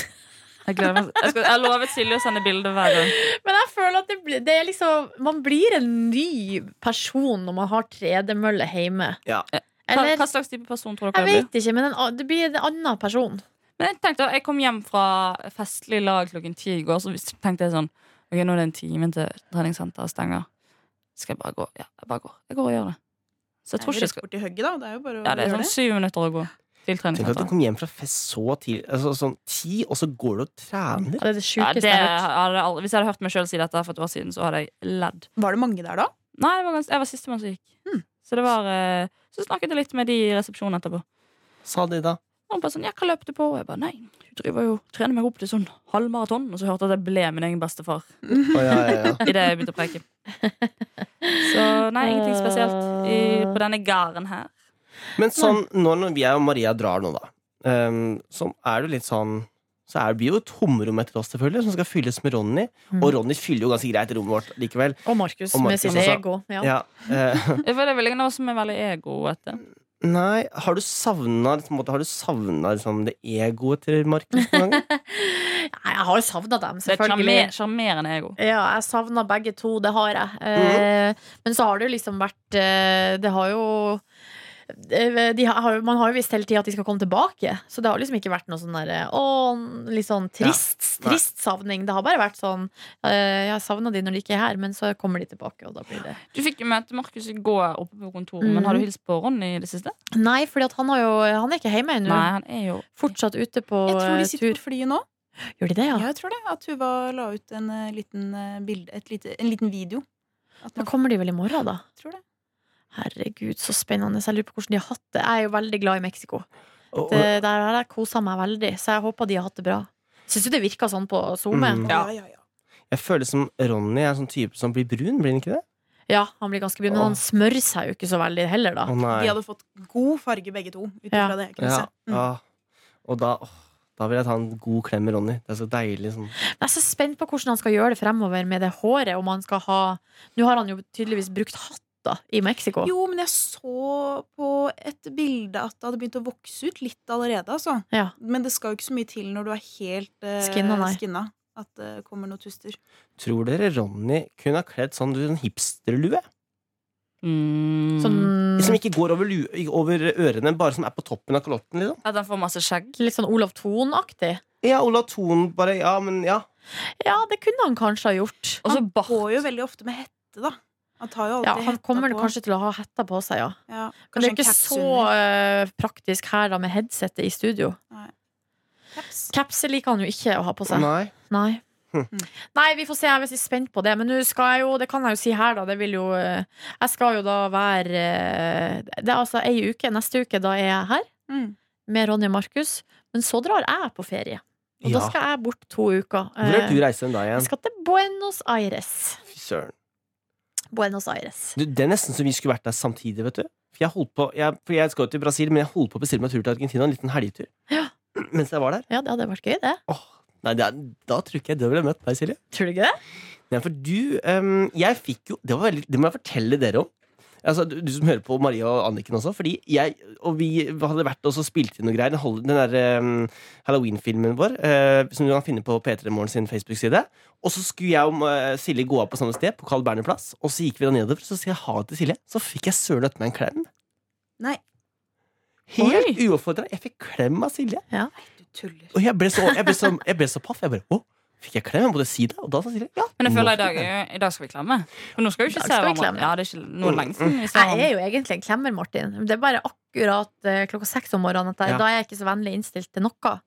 Speaker 5: Jeg gleder meg. Jeg, skal, jeg har lovet Silje å sende bilde hver gang.
Speaker 2: Men jeg føler at det, blir- det er liksom Man blir en ny person når man har tredemølle hjemme.
Speaker 3: Ja.
Speaker 5: Hva,
Speaker 2: Eller
Speaker 5: Eh, hva slags type person tror
Speaker 2: Jeg
Speaker 5: dere jeg blir?
Speaker 2: vet ikke, men en, a- det blir en annen person.
Speaker 5: Men jeg tenkte, jeg kom hjem fra festlig lag klokken ti i går, så tenkte jeg sånn Ok, nå er det en time til treningssenteret stenger. Skal jeg bare gå? Ja, jeg bare går. Jeg går og gjør det. Så jeg tror ikke
Speaker 4: det er
Speaker 5: jeg
Speaker 4: rett
Speaker 5: skal
Speaker 4: bort i hugget, da. Det er jo bare å
Speaker 5: Ja, det er
Speaker 4: gjøre
Speaker 5: sånn syv minutter å gå til
Speaker 3: Tenk at du
Speaker 5: treningssenteret.
Speaker 3: kom hjem fra fest så tidlig, altså sånn ti, og så går du og
Speaker 2: Ja,
Speaker 3: trener.
Speaker 2: det er det
Speaker 5: Ja,
Speaker 2: sjukeste
Speaker 5: det
Speaker 2: jeg har hørt.
Speaker 5: hadde jeg aldri, hvis jeg hadde hørt meg sjøl si dette for et år siden, så hadde jeg ledd.
Speaker 4: det. Var det mange der da?
Speaker 5: Nei, det var gans jeg var sistemann som gikk.
Speaker 4: Hmm.
Speaker 5: Så det var eh, Så snakket jeg litt med de i resepsjonen etterpå.
Speaker 3: Sa de da.
Speaker 5: Og hun bare sånn 'Ja, hva løp du på?' Og jeg bare 'Nei, du driver jo trener meg opp til sånn halvmaraton.' Og så hørte jeg at jeg ble min egen bestefar
Speaker 3: Å, ja, ja, ja.
Speaker 5: idet jeg begynte å preke. Så nei, ingenting spesielt i, på denne gården her.
Speaker 3: Men sånn, når, når vi og Maria drar nå, da, ehm, så er det litt sånn så er det blir jo et tomrom etter oss, selvfølgelig, som skal fylles med Ronny.
Speaker 2: Mm.
Speaker 3: Og Ronny fyller jo ganske greit rommet vårt likevel.
Speaker 2: Og Markus
Speaker 3: Og
Speaker 2: med
Speaker 3: Markus
Speaker 2: sitt
Speaker 3: også.
Speaker 2: ego. Ja.
Speaker 3: Ja. eh,
Speaker 5: Jeg føler vel ingen av oss som er veldig egoete.
Speaker 3: nei, har du savna liksom, har du savnet, liksom, det egoet til Markus noen ganger?
Speaker 2: Nei, jeg har jo savna dem,
Speaker 5: Det er et
Speaker 2: selvfølgelig.
Speaker 5: sjarmer- sjarmerende ego.
Speaker 2: Ja, jeg savna begge to, det har jeg. Eh, Men så har det jo liksom vært eh, Det har jo eh, de har, man har jo visst hele tida at de skal komme tilbake, så det har liksom ikke vært noe sånn derre Å, litt sånn trist,
Speaker 3: Ja. Nei.
Speaker 2: trist savning. Det har bare vært sånn eh, Jeg savna de når de ikke er her, men så kommer de tilbake, og da blir det
Speaker 5: Du fikk jo møte Markus i går oppe på kontoret,
Speaker 2: Mhm.
Speaker 5: men har du hilst på Ronny i det siste?
Speaker 2: Nei, for han, har jo, han er ikke hjemme ennå.
Speaker 5: Nei, han er jo
Speaker 2: Fortsatt ute på
Speaker 4: Jeg tror
Speaker 2: eh,
Speaker 4: de sitter
Speaker 2: tur.
Speaker 4: på flyet nå.
Speaker 2: Gjør de det, ja?
Speaker 4: Ja, jeg tror det. At Tuva la ut en eh, liten, eh, bilde, et lite, en liten video. At
Speaker 2: Da
Speaker 4: man
Speaker 2: kommer de vel i morgen, da.
Speaker 4: tror det.
Speaker 2: Herregud, så spennende. Jeg lurer på hvordan de har hatt det. Jeg er jo veldig glad i Mexico.
Speaker 3: Og, og,
Speaker 2: det, der har jeg kosa meg veldig, så jeg håper de har hatt det bra. Syns du det virka sånn på SoMe?
Speaker 3: Mm.
Speaker 5: Ja.
Speaker 4: ja, ja.
Speaker 3: jeg føler som Ronny er en sånn type som blir brun, blir han ikke det?
Speaker 2: Ja, han blir ganske brun, men
Speaker 3: Åh.
Speaker 2: han smører seg jo ikke så veldig heller,
Speaker 3: Å
Speaker 2: da.
Speaker 3: nei.
Speaker 4: De hadde fått god farge, begge to. Ut
Speaker 2: Ja.
Speaker 4: ifra det jeg kunne
Speaker 3: Ja,
Speaker 4: se. Mm.
Speaker 3: ja. Og da, åh, da vil jeg ta en god klem med Ronny. Det er så deilig. Sånn.
Speaker 2: Jeg er så spent på hvordan han skal gjøre det fremover med det håret, om han skal ha Nå har han jo tydeligvis brukt hatt, da, i Mexico.
Speaker 4: Jo, men jeg så på et bilde at det hadde begynt å vokse ut litt allerede. Altså.
Speaker 2: Ja.
Speaker 4: Men det skal jo ikke så mye til når du er helt eh,
Speaker 2: Skinna, nei.
Speaker 4: skinna. At det kommer noen tuster.
Speaker 3: Tror dere Ronny kunne ha kledd sånn du, en hipsterlue?
Speaker 5: mm.
Speaker 2: Sånn,
Speaker 3: Som ikke går over, lue, over ørene, bare som er på toppen av kalotten? Liksom.
Speaker 5: At han får masse skjegg.
Speaker 2: litt sånn Olav Thon-aktig.
Speaker 3: Ja, Ola Thon bare Ja, men ja.
Speaker 2: Ja, det kunne han kanskje ha gjort.
Speaker 5: Og så
Speaker 4: Han
Speaker 5: bart.
Speaker 4: går jo veldig ofte med hette, da. Han tar jo alltid
Speaker 2: Ja, han
Speaker 4: hetta
Speaker 2: kommer
Speaker 4: på.
Speaker 2: kanskje til å ha hetta på seg, ja.
Speaker 4: ja,
Speaker 2: Men det er
Speaker 4: kanskje
Speaker 2: jo ikke
Speaker 4: en caps
Speaker 2: så
Speaker 4: under.
Speaker 2: eh, praktisk her da med headsetet i studio.
Speaker 4: Caps.
Speaker 2: Capset liker han jo ikke å ha på seg.
Speaker 3: Nei.
Speaker 2: Nei.
Speaker 3: Hm.
Speaker 2: Nei, vi får se. Jeg er veldig spent på det. Men nå skal jeg jo, det kan jeg jo si her, da. Det vil jo eh, Jeg skal jo da være eh, Det er altså ei uke. Neste uke da er jeg her
Speaker 4: Mm.
Speaker 2: med Ronny og Markus. Men så drar jeg på ferie. Og da
Speaker 3: Ja.
Speaker 2: skal jeg bort to uker.
Speaker 3: Hvor er
Speaker 2: Eh,
Speaker 3: du reiser den da
Speaker 2: Jeg
Speaker 3: igjen?
Speaker 2: skal til Buenos Aires.
Speaker 3: Fy søren.
Speaker 2: Buenos Aires.
Speaker 3: Du, det er nesten så vi skulle vært der samtidig, vet du. For jeg, holdt på, jeg, for jeg skal jo til Brasil, men jeg holdt på å bestille meg tur til Argentina. En liten helgetur.
Speaker 2: Ja.
Speaker 3: Mens jeg var der.
Speaker 2: Ja, det hadde vært gøy, det.
Speaker 3: Åh, nei, det er, da tror ikke jeg du ville møtt meg, Silje.
Speaker 2: Tror du ikke det?
Speaker 3: Nei, for du ehm, Jeg fikk jo det, var veldig, det må jeg fortelle dere om. Altså, du, du som hører på Maria og Anniken også. Fordi jeg og vi hadde vært og så spilt inn noe greier. Den, hol- den der ehm, Halloween-filmen vår, eh, som du kan finne på P3 Morgen sin Facebook-side. Og så skulle jeg og eh, Silje gå av på samme sted, på Carl Berner plass. Og så gikk vi da nedover, så sier jeg ha det til Silje. Så fikk jeg søren etter meg en klem.
Speaker 4: Nei,
Speaker 3: Helt uoppfordra. Jeg fikk klem av Silje.
Speaker 4: du tuller.
Speaker 3: Og jeg ble så, jeg ble så, jeg ble så paff. Jeg bare å, fikk jeg klem? Jeg måtte si det. Og da sa Silje ja.
Speaker 5: Men jeg føler
Speaker 3: nå
Speaker 5: i dag,
Speaker 3: fikk jeg klem.
Speaker 5: er jo- i dag skal vi klemme. For nå skal vi
Speaker 2: I
Speaker 5: ikke
Speaker 2: dag
Speaker 5: se
Speaker 2: skal vi
Speaker 5: hverandre.
Speaker 2: klemme. Mm.
Speaker 5: Ja, det er ikke noe lenge siden vi ser
Speaker 2: Jeg er
Speaker 5: hverandre.
Speaker 2: jo egentlig en klemmer, Martin. Det er bare akkurat eh, klokka seks om morgenen. At jeg,
Speaker 3: Ja.
Speaker 2: Da er jeg ikke så vennlig innstilt til noe.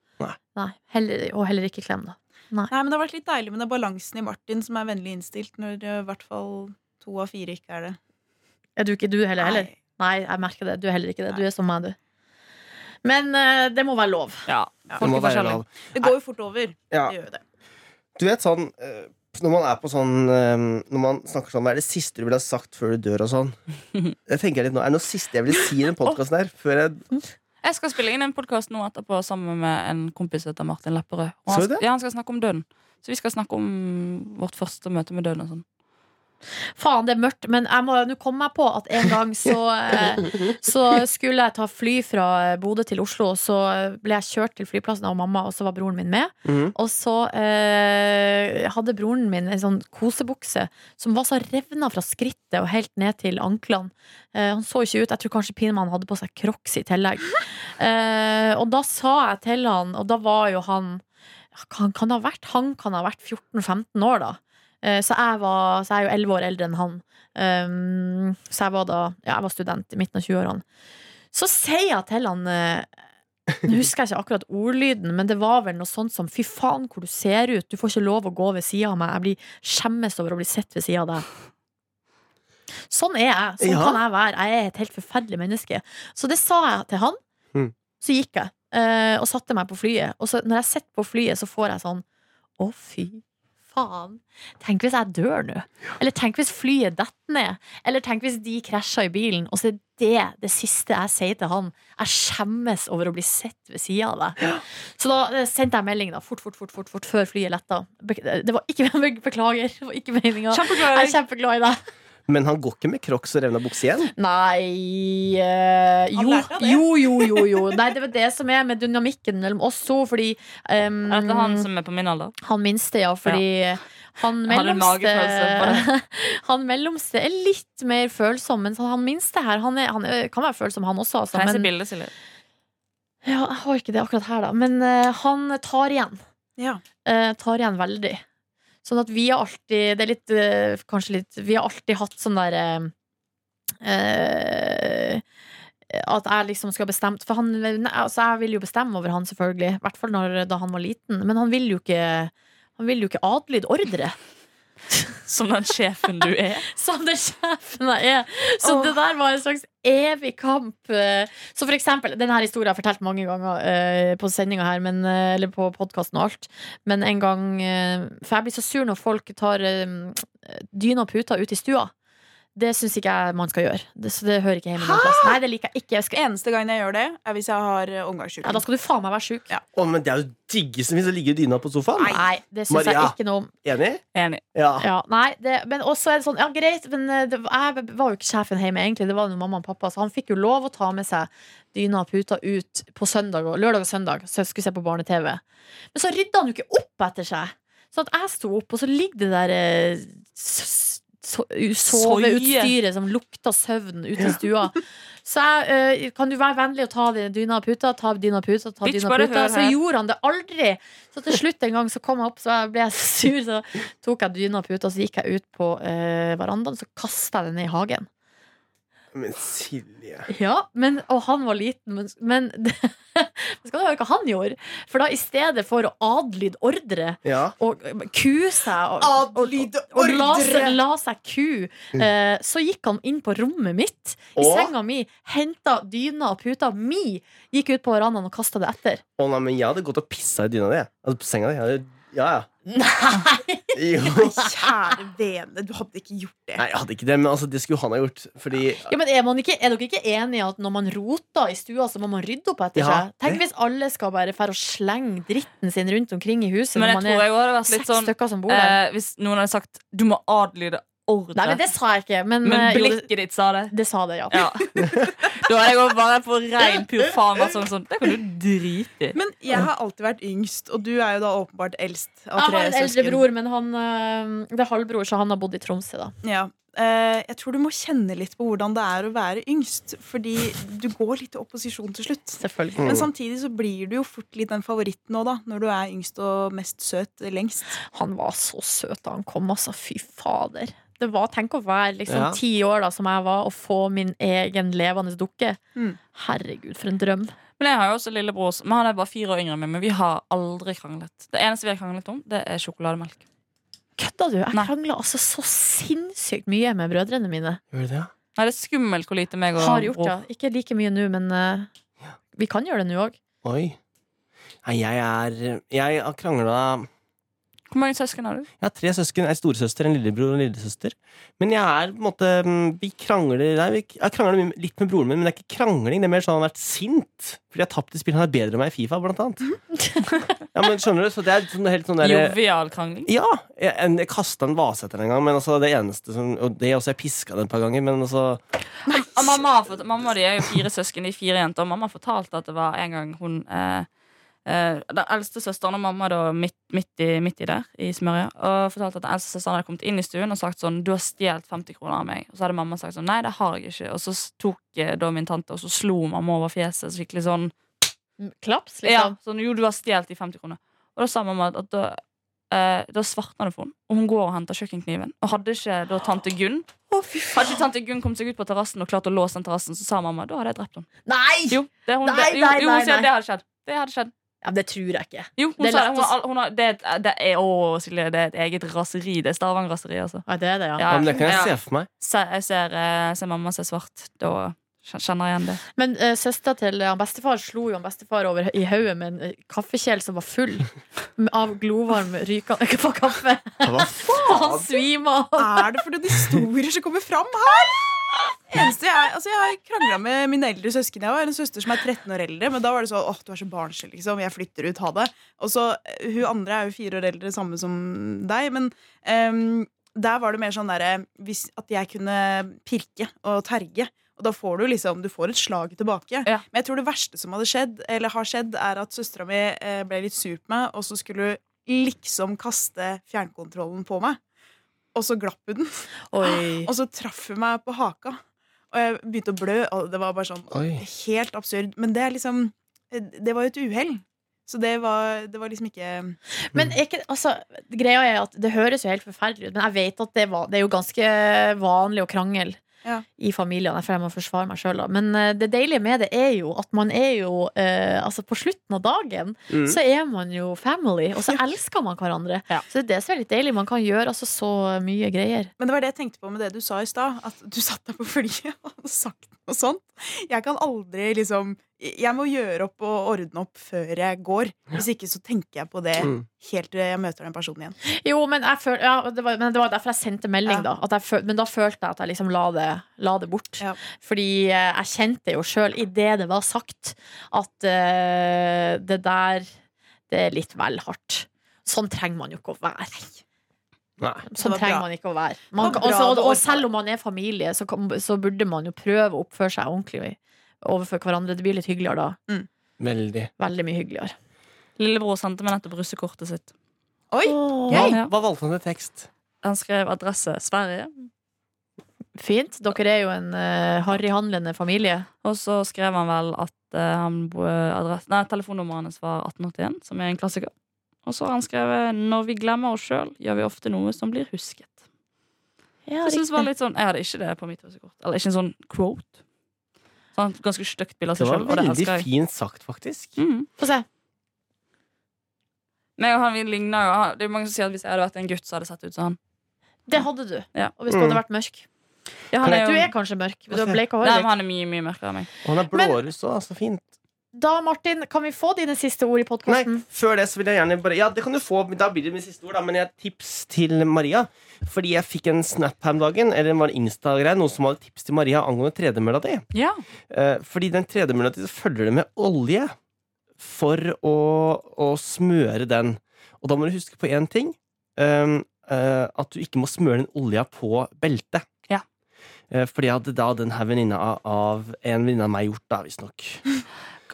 Speaker 3: Nei.
Speaker 2: heller, og heller ikke klem, da.
Speaker 4: Nei, men Det har vært litt deilig med den balansen i Martin, som er vennlig innstilt når eh, i hvert fall to av fire ikke er det.
Speaker 2: Er du ikke du heller? heller?
Speaker 4: Nei.
Speaker 2: Nei, jeg merker det. Du er heller ikke det. Du er som meg, du. Men eh, det må være lov.
Speaker 5: Ja,
Speaker 3: Det
Speaker 5: folk
Speaker 3: må
Speaker 5: er
Speaker 3: være
Speaker 5: forskjellige.
Speaker 3: lov.
Speaker 4: Det går jo fort over.
Speaker 3: Ja.
Speaker 4: Det gjør jo det.
Speaker 3: Du vet sånn eh, Når man er på sånn eh, Når man snakker sånn Hva er det siste du ville ha sagt før du dør og sånn? Jeg tenker litt nå Er det noe siste jeg ville si i den podkasten her? Før jeg
Speaker 5: Jeg skal spille inn en podkast nå etterpå sammen med en kompis som heter Martin Lepperød. Og
Speaker 3: Så
Speaker 5: han,
Speaker 3: du det?
Speaker 5: ja, han skal snakke om døden. Så vi skal snakke om vårt første møte med døden og sånn.
Speaker 2: Faen, det er mørkt, men jeg må nå komme meg på at en gang så, eh, så skulle jeg ta fly fra Bodø til Oslo, og så ble jeg kjørt til flyplassen av mamma, og så var broren min med. Og så eh, hadde broren min en sånn kosebukse som var så revna fra skrittet og helt ned til anklene. Eh, han så ikke ut. Jeg tror kanskje pinadø han hadde på seg crocs i tillegg. Eh, og da sa jeg til han, og da var jo han Han kan ha vært, han kan ha vært 14-15 år, da. Eh, Så jeg, var, så jeg er jo elleve år eldre enn han. Um, så jeg var da ja, jeg var student i midten av 20-årene. Så sier jeg til han eh, Nå husker jeg ikke akkurat ordlyden, men det var vel noe sånt som 'fy faen, hvor du ser ut', du får ikke lov å gå ved sida av meg, jeg blir skjemmes over å bli sett ved sida av deg. Sånn er jeg. Sånn
Speaker 3: Ja.
Speaker 2: kan jeg være. Jeg er et helt forferdelig menneske. Så det sa jeg til han.
Speaker 3: Mm.
Speaker 2: Så gikk jeg eh, og satte meg på flyet. Og så, når jeg sitter på flyet, så får jeg sånn Å, fy faen. Tenk hvis jeg dør nå. Eller tenk hvis flyet detter ned. Eller tenk hvis de krasjer i bilen. Og så er det det siste jeg sier til han. Jeg skjemmes over å bli sett ved sida av deg. Så da eh, sendte jeg melding da, fort, fort, fort, fort, fort før flyet letta. Bek- Det var ikke Beklager, det var ikke meninga.
Speaker 5: Kjempeglad
Speaker 2: Jeg
Speaker 5: i
Speaker 2: er
Speaker 5: deg.
Speaker 2: kjempeglad i deg.
Speaker 3: Men han går ikke med crocs og revna bukse igjen.
Speaker 2: Nei eh,
Speaker 4: Han
Speaker 2: jo,
Speaker 4: lærte av det.
Speaker 2: jo, jo, jo, jo. Nei, det var det som er med dynamikken mellom oss to. Fordi ehm,
Speaker 5: Er dette han som er på min alder?
Speaker 2: han minste, ja. Fordi han
Speaker 5: Jeg hadde en
Speaker 2: mellomste
Speaker 5: magefølelse
Speaker 2: Han mellomste er litt mer følsom, mens han minste her Han, er, han er, kan være følsom, han også. Altså,
Speaker 5: Kan jeg se
Speaker 2: men,
Speaker 5: bildet, Silje?
Speaker 2: ja, jeg har ikke det akkurat her, da. Men eh, han tar igjen.
Speaker 4: Ja.
Speaker 2: eh, tar igjen veldig. Sånn at vi har alltid Det er litt eh, Kanskje litt Vi har alltid hatt sånn der eh, eh, At jeg liksom skal bestemme For han nei, Altså jeg vil jo bestemme over han selvfølgelig I hvert fall når, da han var liten Men han vil jo ikke Han vil jo ikke adlyde ordre
Speaker 5: Som den sjefen du er.
Speaker 2: som det sjefen jeg er. Så
Speaker 4: Åh.
Speaker 2: det der var en slags evig kamp. eh. Så for eksempel, denne her historien har jeg fortalt mange ganger eh, på sendinga her, men, eh, eller på podkasten og alt, men en gang eh, For jeg blir så sur når folk tar eh, dyna og puta ut i stua. Det syns ikke jeg man skal gjøre. Det, så det hører ikke hjemme noen plass. Nei, det liker jeg ikke. Jeg skal,
Speaker 4: Eneste gangen jeg gjør det, er hvis jeg har eh, omgangsuke.
Speaker 2: ja, da skal du faen meg være sjuk.
Speaker 3: Å, men det er jo diggesten hvis det ligger i dyna på sofaen.
Speaker 2: Nei, det syns jeg
Speaker 3: Maria.
Speaker 2: ikke noe om.
Speaker 3: Enig?
Speaker 5: Enig.
Speaker 3: Ja.
Speaker 2: Ja, nei, det, men også er det sånn, ja greit Men eh, det, jeg var jo ikke sjefen hjemme egentlig Det var jo mamma og pappa Så han fikk jo lov å ta med seg dyna og puta ut På søndag, og, lørdag og søndag Så jeg skulle se på barne-tv Men så rydda han jo ikke opp etter seg Sånn at jeg sto opp, og så ligger det der eh, s- so, Soveutstyret som lukta søvn Ute i stua Så jeg, eh, kan du være vennlig og ta din dyna og puta Ta dyna og puta, ta
Speaker 5: Bitch,
Speaker 2: dyna og
Speaker 5: bare
Speaker 2: puta
Speaker 5: hør
Speaker 2: Så
Speaker 5: her.
Speaker 2: gjorde han det aldri Så til slutt en gang så kom jeg opp Så jeg ble jeg sur, så tok jeg dyna på ut, og så gikk jeg ut på eh, verandaen, så kasta jeg den ned i hagen.
Speaker 3: Men Silje
Speaker 2: Ja, men, Og han var liten, men, men det, skal du høre hva han gjorde? For da i stedet for å adlyde ordre
Speaker 3: Ja.
Speaker 2: og kue seg og,
Speaker 4: Adlyde
Speaker 2: og, og la, seg,
Speaker 4: ordre!
Speaker 2: la seg ku, eh, så gikk han inn på rommet mitt, i
Speaker 3: Og?
Speaker 2: senga mi, henta dyna og puta mi, gikk ut på verandaen og kasta det etter.
Speaker 3: Å nei, men jeg hadde gått og pissa i dyna di. jeg. Altså på senga di. Jeg hadde- Ja, ja.
Speaker 2: Nei!
Speaker 3: Jo.
Speaker 4: Kjære vene, du hadde ikke gjort det.
Speaker 3: Nei, jeg hadde ikke det, men altså, det skulle han ha gjort. Fordi
Speaker 2: Ja, men er, man ikke, er dere ikke enige i at når man roter i stua, så må man rydde opp etter
Speaker 3: Ja,
Speaker 2: seg? Tenk hvis alle skal bare fære og slenge dritten sin rundt omkring i huset når
Speaker 5: Men jeg
Speaker 2: man
Speaker 5: tror
Speaker 2: er
Speaker 5: jeg også hadde vært
Speaker 2: seks
Speaker 5: litt sånn
Speaker 2: stykker som bor der.
Speaker 5: eh, Hvis noen hadde sagt 'du må adlyde ordre',
Speaker 2: Nei, men det sa jeg ikke. Men,
Speaker 5: men
Speaker 2: eh, jo,
Speaker 5: blikket ditt sa det.
Speaker 2: det, det sa det, ja.
Speaker 5: Ja. da er jeg også bare på rein pur faen meg sånn, sånn. Det kan du drite i.
Speaker 4: Men jeg har alltid vært yngst, og du er jo da åpenbart eldst
Speaker 2: Jeg
Speaker 4: av tre
Speaker 2: har Ah, en eldre
Speaker 4: søsken.
Speaker 2: bror, men han eh, Det er halvbror, så han har bodd i Tromsø, da.
Speaker 4: Ja. Eh, jeg tror du må kjenne litt på hvordan det er å være yngst, fordi du går litt i opposisjon til slutt.
Speaker 2: Selvfølgelig.
Speaker 3: Mm.
Speaker 4: Men samtidig så blir du jo fort litt den favoritten òg, da, når du er yngst og mest søt lengst.
Speaker 2: Han var så søt da han kom, altså. Fy fader. Det var, Tenk å være liksom
Speaker 3: Ja.
Speaker 2: ti år da som jeg var, og få min egen levende dukke.
Speaker 4: Mm.
Speaker 2: Herregud, for en drøm.
Speaker 5: Men jeg har jo også lillebror. som- men Han er bare fire år yngre enn meg, men vi har aldri kranglet. Det eneste vi har kranglet om, det er sjokolademelk.
Speaker 2: Kødda du? Jeg
Speaker 5: Nei.
Speaker 2: krangla altså så sinnssykt mye med brødrene mine.
Speaker 3: Gjorde det, ja?
Speaker 5: Nei, det er skummelt hvor lite meg og
Speaker 2: Har gjort
Speaker 5: bror
Speaker 2: det. Ikke like mye nå, men eh, vi kan gjøre det nå òg.
Speaker 3: Oi. Nei, jeg er Jeg har krangla
Speaker 5: Hvor mange søsken har du?
Speaker 3: Jeg har tre søsken. Ei storesøster, en lillebror og en lillesøster. Men jeg er på en måte mm, Vi krangler nei, vi, Jeg krangler mye- litt med broren min, men det er ikke krangling. Det er mer sånn han har vært sint. Fordi jeg har tapt i spill. Han er bedre enn meg i Fifa, blant annet. ja, men skjønner du? Så det er sånn, helt sånn derre
Speaker 5: Jovial krangling.
Speaker 3: Ja! Jeg, en- jeg kasta en vase etter den en gang, men altså, det eneste som Og det også, jeg piska den et par ganger, men altså
Speaker 5: Og mamma, har fått, mamma og de er jo fire søsken, de er fire jenter. Og mamma fortalte at det var en gang hun eh, eh, Den eldste søsteren og mamma da midt, midt, i, midt i der, i smørja, og fortalte at den eldste søsteren hadde kommet inn i stuen og sagt sånn 'Du har stjålet 50 kroner av meg.' Og så hadde mamma sagt sånn 'Nei, det har jeg ikke.' Og så s- tok eh, da min tante, og så slo mamma over fjeset skikkelig sånn
Speaker 2: Klaps,
Speaker 5: ja,
Speaker 2: liksom.
Speaker 5: sånn, 'Jo, du har stjålet de 50 kronene.' Og da sa mamma at, at da eh, da svartner det for henne. Og hun går og henter kjøkkenkniven. Og hadde ikke da tante Gunn
Speaker 2: Å, fy faen.
Speaker 5: Hadde ikke tante Gunn kommet seg ut på terrassen og klart å låse den terrassen, så sa mamma da hadde jeg drept henne.
Speaker 2: Nei!
Speaker 5: Jo, det, hun,
Speaker 2: Nei,
Speaker 5: det, jo,
Speaker 2: nei,
Speaker 5: jo, hun
Speaker 2: nei,
Speaker 5: sier
Speaker 2: nei.
Speaker 5: at det hadde skjedd. Det hadde skjedd.
Speaker 2: Ja, men det tror jeg ikke.
Speaker 5: Jo, hun
Speaker 2: Det er
Speaker 5: sa
Speaker 2: lett
Speaker 5: det. Hun, har- hun har, det, er et- det, er, å, Silje, det er et eget raseri. Det er Stavanger-raseri, altså.
Speaker 2: Ja, det er det, ja.
Speaker 5: Ja.
Speaker 3: men det kan jeg
Speaker 5: Ja.
Speaker 3: se for meg.
Speaker 5: Se, jeg ser, eh, ser mamma ser svart. Da kj- kjenner jeg igjen det.
Speaker 2: Men uh, søstera til han bestefar slo jo han bestefar over i hodet med en eh, kaffekjel som var full av glovarm rykende Hva var kaffe.
Speaker 3: Hva
Speaker 2: Og han svima av.
Speaker 4: Er det for noen historier som kommer fram her? Eneste jeg, altså jeg har krangla med mine eldre søsken. Jeg har en søster som er 13 år eldre. Men da var det sånn åh, du er så barnslig, liksom. Jeg flytter ut, ha det. Og så, eh, Hun andre er jo fire år eldre, samme som deg. Men ehm, der var det mer sånn derre hvis- at jeg kunne pirke og terge. Og da får du liksom, du får et slag tilbake.
Speaker 5: Ja.
Speaker 4: Men jeg tror det verste som hadde skjedd, eller har skjedd, er at søstera mi eh, ble litt sur på meg, og så skulle hun liksom kaste fjernkontrollen på meg. Og så glapp hun den.
Speaker 2: Oi.
Speaker 4: Og så traff hun meg på haka, og jeg begynte å blø. Og det var bare sånn
Speaker 3: Oi.
Speaker 4: helt absurd. Men det er liksom Det var jo et uhell. Så det var, det var liksom ikke
Speaker 2: Men er ikke, altså, greia er at det høres jo helt forferdelig ut, men jeg vet at det, var, det er jo ganske vanlig å krangle.
Speaker 4: Ja.
Speaker 2: I familien, derfor jeg må forsvare meg sjøl. Men eh, det deilige med det er jo at man er jo eh, Altså, på slutten av dagen
Speaker 3: Mm.
Speaker 2: så er man jo family, og så elsker man hverandre.
Speaker 5: Ja.
Speaker 2: Så det er det som er litt deilig. Man kan gjøre altså så mye greier.
Speaker 4: Men det var det jeg tenkte på med det du sa i stad. At du satt deg på flyet og hadde sagt noe sånt. Jeg kan aldri liksom Jeg må gjøre opp og ordne opp før jeg går. Hvis ikke så tenker jeg på det
Speaker 3: Mm.
Speaker 4: helt til jeg møter den personen igjen.
Speaker 2: Jo, men, jeg føl, ja, det var, men det var derfor jeg sendte melding,
Speaker 4: Ja.
Speaker 2: da. At jeg føl, men da følte jeg at jeg liksom la det, la det bort.
Speaker 4: Ja.
Speaker 2: Fordi eh, jeg kjente jo sjøl, idet det var sagt, at eh, det der Det er litt vel hardt. Sånn trenger man jo ikke å være.
Speaker 3: Nei.
Speaker 4: Det
Speaker 2: Sånn
Speaker 4: var
Speaker 2: trenger
Speaker 4: bra.
Speaker 2: man ikke å være. Man,
Speaker 4: Det var
Speaker 2: kan-
Speaker 4: bra
Speaker 2: altså, og,
Speaker 4: det
Speaker 2: og
Speaker 4: også.
Speaker 2: selv om man er familie, så, kan, så burde man jo prøve å oppføre seg ordentlig overfor hverandre. Det blir litt hyggeligere da.
Speaker 3: Veldig.
Speaker 2: Veldig mye hyggeligere.
Speaker 5: Lillebror sendte meg nettopp russekortet sitt.
Speaker 4: Oi!
Speaker 2: Åh,
Speaker 3: Hva,
Speaker 5: Ja.
Speaker 3: hva valgte han til tekst?
Speaker 5: Han skrev adresse Sverige.
Speaker 2: fint. Dere er jo en uh, harryhandlende familie.
Speaker 5: Og så skrev han vel at eh, han bo- adress, nei, telefonnummeret hans var 1881, som er en klassiker. Og så har han skrevet 'Når vi glemmer oss sjøl, gjør vi ofte noe som blir husket'.
Speaker 2: Ja,
Speaker 5: Så jeg synes det var litt sånn, jeg hadde ikke det på mitt russekort. Eller ikke en sånn quote. Så han har et ganske stygt bilde av
Speaker 3: Det
Speaker 5: seg
Speaker 3: var
Speaker 5: sjøl, og det
Speaker 3: veldig
Speaker 5: elsker jeg.
Speaker 3: fint sagt, faktisk.
Speaker 5: Mm.
Speaker 2: Få se.
Speaker 5: Meg og han, vi ligner jo han- Det er jo mange som sier at Hvis jeg hadde vært en gutt, så hadde jeg sett ut sånn. som han.
Speaker 2: Det hadde du.
Speaker 5: Ja.
Speaker 2: Og hvis du hadde
Speaker 3: Mm.
Speaker 2: vært mørk.
Speaker 5: Ja, han
Speaker 3: Kan
Speaker 5: er
Speaker 2: Du
Speaker 5: jo,
Speaker 2: er kanskje mørk, men du har bleika
Speaker 5: nei, men
Speaker 2: hår.
Speaker 5: han er mye, mye mørkere enn meg.
Speaker 3: Og han er
Speaker 2: Men-
Speaker 3: blåruss òg, så fint.
Speaker 2: Da, Martin, kan vi få dine siste ord i
Speaker 3: Nei,
Speaker 2: podkasten?
Speaker 3: før det så vil jeg gjerne bare Ja, det kan du få, men da blir det mitt siste ord, da, men jeg har tips til Maria. Fordi jeg fikk en snap her om dagen, eller det var en Insta-greie, noen som hadde tips til Maria angående tredemølla di.
Speaker 5: Ja.
Speaker 3: Eh, Fordi den tredemølla di så følger det med olje for å, å smøre den. Og da må du huske på én ting. ehm, eh, at du ikke må smøre den olja på beltet.
Speaker 5: Ja.
Speaker 3: Eh, for det hadde da den her venninna av, av en venninne av meg gjort, da, visstnok.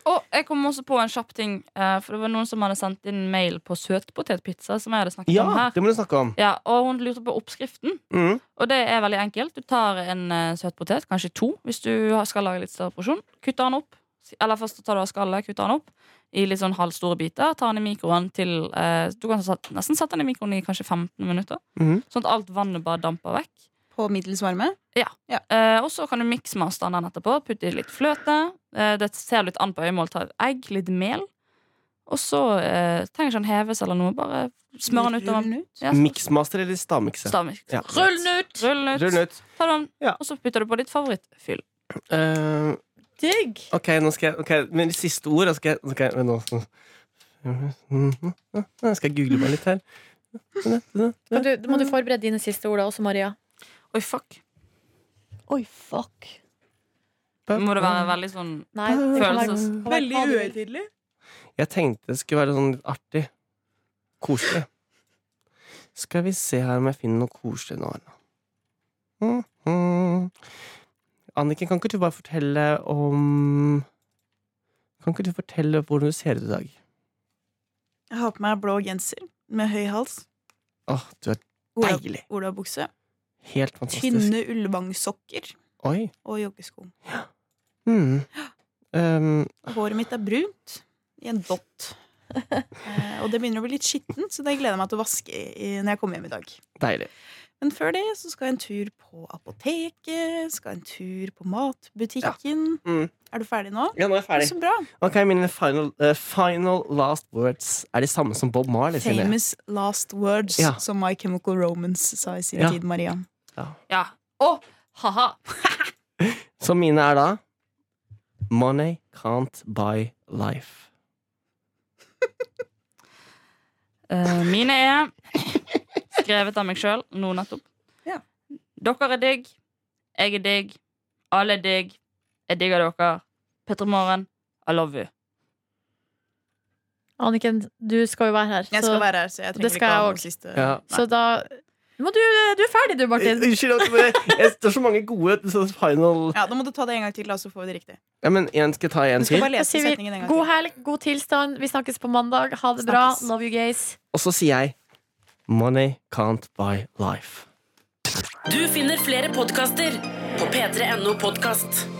Speaker 5: Og jeg kom også på en kjapp ting. eh, For det var noen som hadde sendt inn mail på søtpotetpizza, som jeg hadde snakket
Speaker 3: Ja,
Speaker 5: om her.
Speaker 3: det må du snakke om.
Speaker 5: Ja, og hun lurte på oppskriften.
Speaker 3: Mm.
Speaker 5: Og det er veldig enkelt. Du tar en eh, søt potet, kanskje to, hvis du har- skal lage litt større porsjon. Kutter den opp. Eller først tar du av skallet, kutter den opp i litt sånn halvstore biter. Tar den i mikroen til eh, Du kan sat- nesten sette den i mikroen i kanskje 15 minutter.
Speaker 3: Mhm.
Speaker 5: Sånn at alt vannet bare damper vekk.
Speaker 4: På middels varme.
Speaker 5: Eh, og så kan du miksmaste den etterpå. Putte i litt fløte. Eh, det ser litt an på øyemål. Ta et egg, litt mel. Og så eh, trenger ikke den heves eller noe. Bare smør den ut.
Speaker 4: Rull
Speaker 5: over-
Speaker 4: den ut.
Speaker 5: Ja, så-
Speaker 3: Mixmaster eller stavmikse?
Speaker 5: Stavmiks.
Speaker 3: Ja.
Speaker 2: Rull den ut!
Speaker 5: Rull den ut.
Speaker 3: Rull ut.
Speaker 5: Ta den,
Speaker 3: Ja.
Speaker 5: og så putter du på ditt favorittfyll.
Speaker 3: Eh,
Speaker 2: Digg!
Speaker 3: ok, nå skal jeg ok, Men siste ord da skal jeg, nå skal jeg, nå, nå skal jeg google meg litt her.
Speaker 2: Kan du, må du forberede dine siste ord da også, Maria?
Speaker 5: Oi, fuck.
Speaker 2: Oi, fuck.
Speaker 5: Må det være veldig sånn
Speaker 2: Nei, det kan være,
Speaker 5: Følelses-
Speaker 2: kan være hva du vil.
Speaker 4: uhøytidelig.
Speaker 3: Jeg tenkte det skulle være sånn litt artig. Koselig. Skal vi se her om jeg finner noe koselig nå. da. Mm, mm. Anniken, kan ikke du bare fortelle om Kan ikke du fortelle hvordan du ser ut i dag?
Speaker 4: Jeg har på meg blå genser med høy hals.
Speaker 3: Åh, du er
Speaker 4: Ola-
Speaker 3: Deilig.
Speaker 4: Olabukse.
Speaker 3: helt fantastisk.
Speaker 4: Tynne ullbangsokker
Speaker 3: Oi.
Speaker 4: og joggesko.
Speaker 3: Mm. Um, Ehm,
Speaker 4: Håret mitt er brunt i en dott. Eh, Og det begynner å bli litt skittent, så det gleder jeg meg til å vaske i- når jeg kommer hjem i dag.
Speaker 3: Deilig.
Speaker 4: Men før det så skal jeg en tur på apoteket, skal en tur på matbutikken.
Speaker 3: Mm.
Speaker 4: Er du ferdig nå?
Speaker 3: Ja, nå er jeg ferdig.
Speaker 4: Så bra.
Speaker 3: Ok, mine final, eh, final last words er de samme som Bob Marley sine.
Speaker 4: Famous last words,
Speaker 3: Ja.
Speaker 4: som My Chemical Romance sa i sin
Speaker 3: Ja.
Speaker 4: tid, Maria.
Speaker 5: Ja. Og ha-ha.
Speaker 3: Så mine er da Money can't buy life.
Speaker 5: Eh, mine er skrevet av meg sjøl nå nettopp.
Speaker 4: Ja.
Speaker 5: Dere er digg. Jeg er digg. Alle er digg. Jeg digger dere. Petter Morgen, I love you.
Speaker 2: Anniken, du skal jo være her.
Speaker 4: Jeg
Speaker 2: så,
Speaker 4: skal være her, så jeg
Speaker 2: det
Speaker 4: trenger
Speaker 2: skal
Speaker 4: ikke ha
Speaker 2: jeg
Speaker 4: noen
Speaker 2: også.
Speaker 4: siste
Speaker 3: Ja.
Speaker 2: så da må du, du er ferdig, du, Martin.
Speaker 3: Eh, Unnskyld, jeg bare- jeg- det er så mange gode så final
Speaker 4: Ja, Da må du ta det en gang til, da, så får vi det riktig.
Speaker 3: Ja, men en skal jeg ta en
Speaker 4: Du skal
Speaker 3: til.
Speaker 4: bare
Speaker 2: Da
Speaker 4: lese
Speaker 2: sier
Speaker 4: setningen
Speaker 2: vi
Speaker 4: en gang
Speaker 2: god
Speaker 4: til.
Speaker 2: helg, god tilstand. Vi snakkes på mandag. Ha det bra.
Speaker 4: Snakkes.
Speaker 2: Love you guys.
Speaker 3: Og så sier jeg Money can't buy life.
Speaker 6: Du finner flere podkaster på p3.no podkast.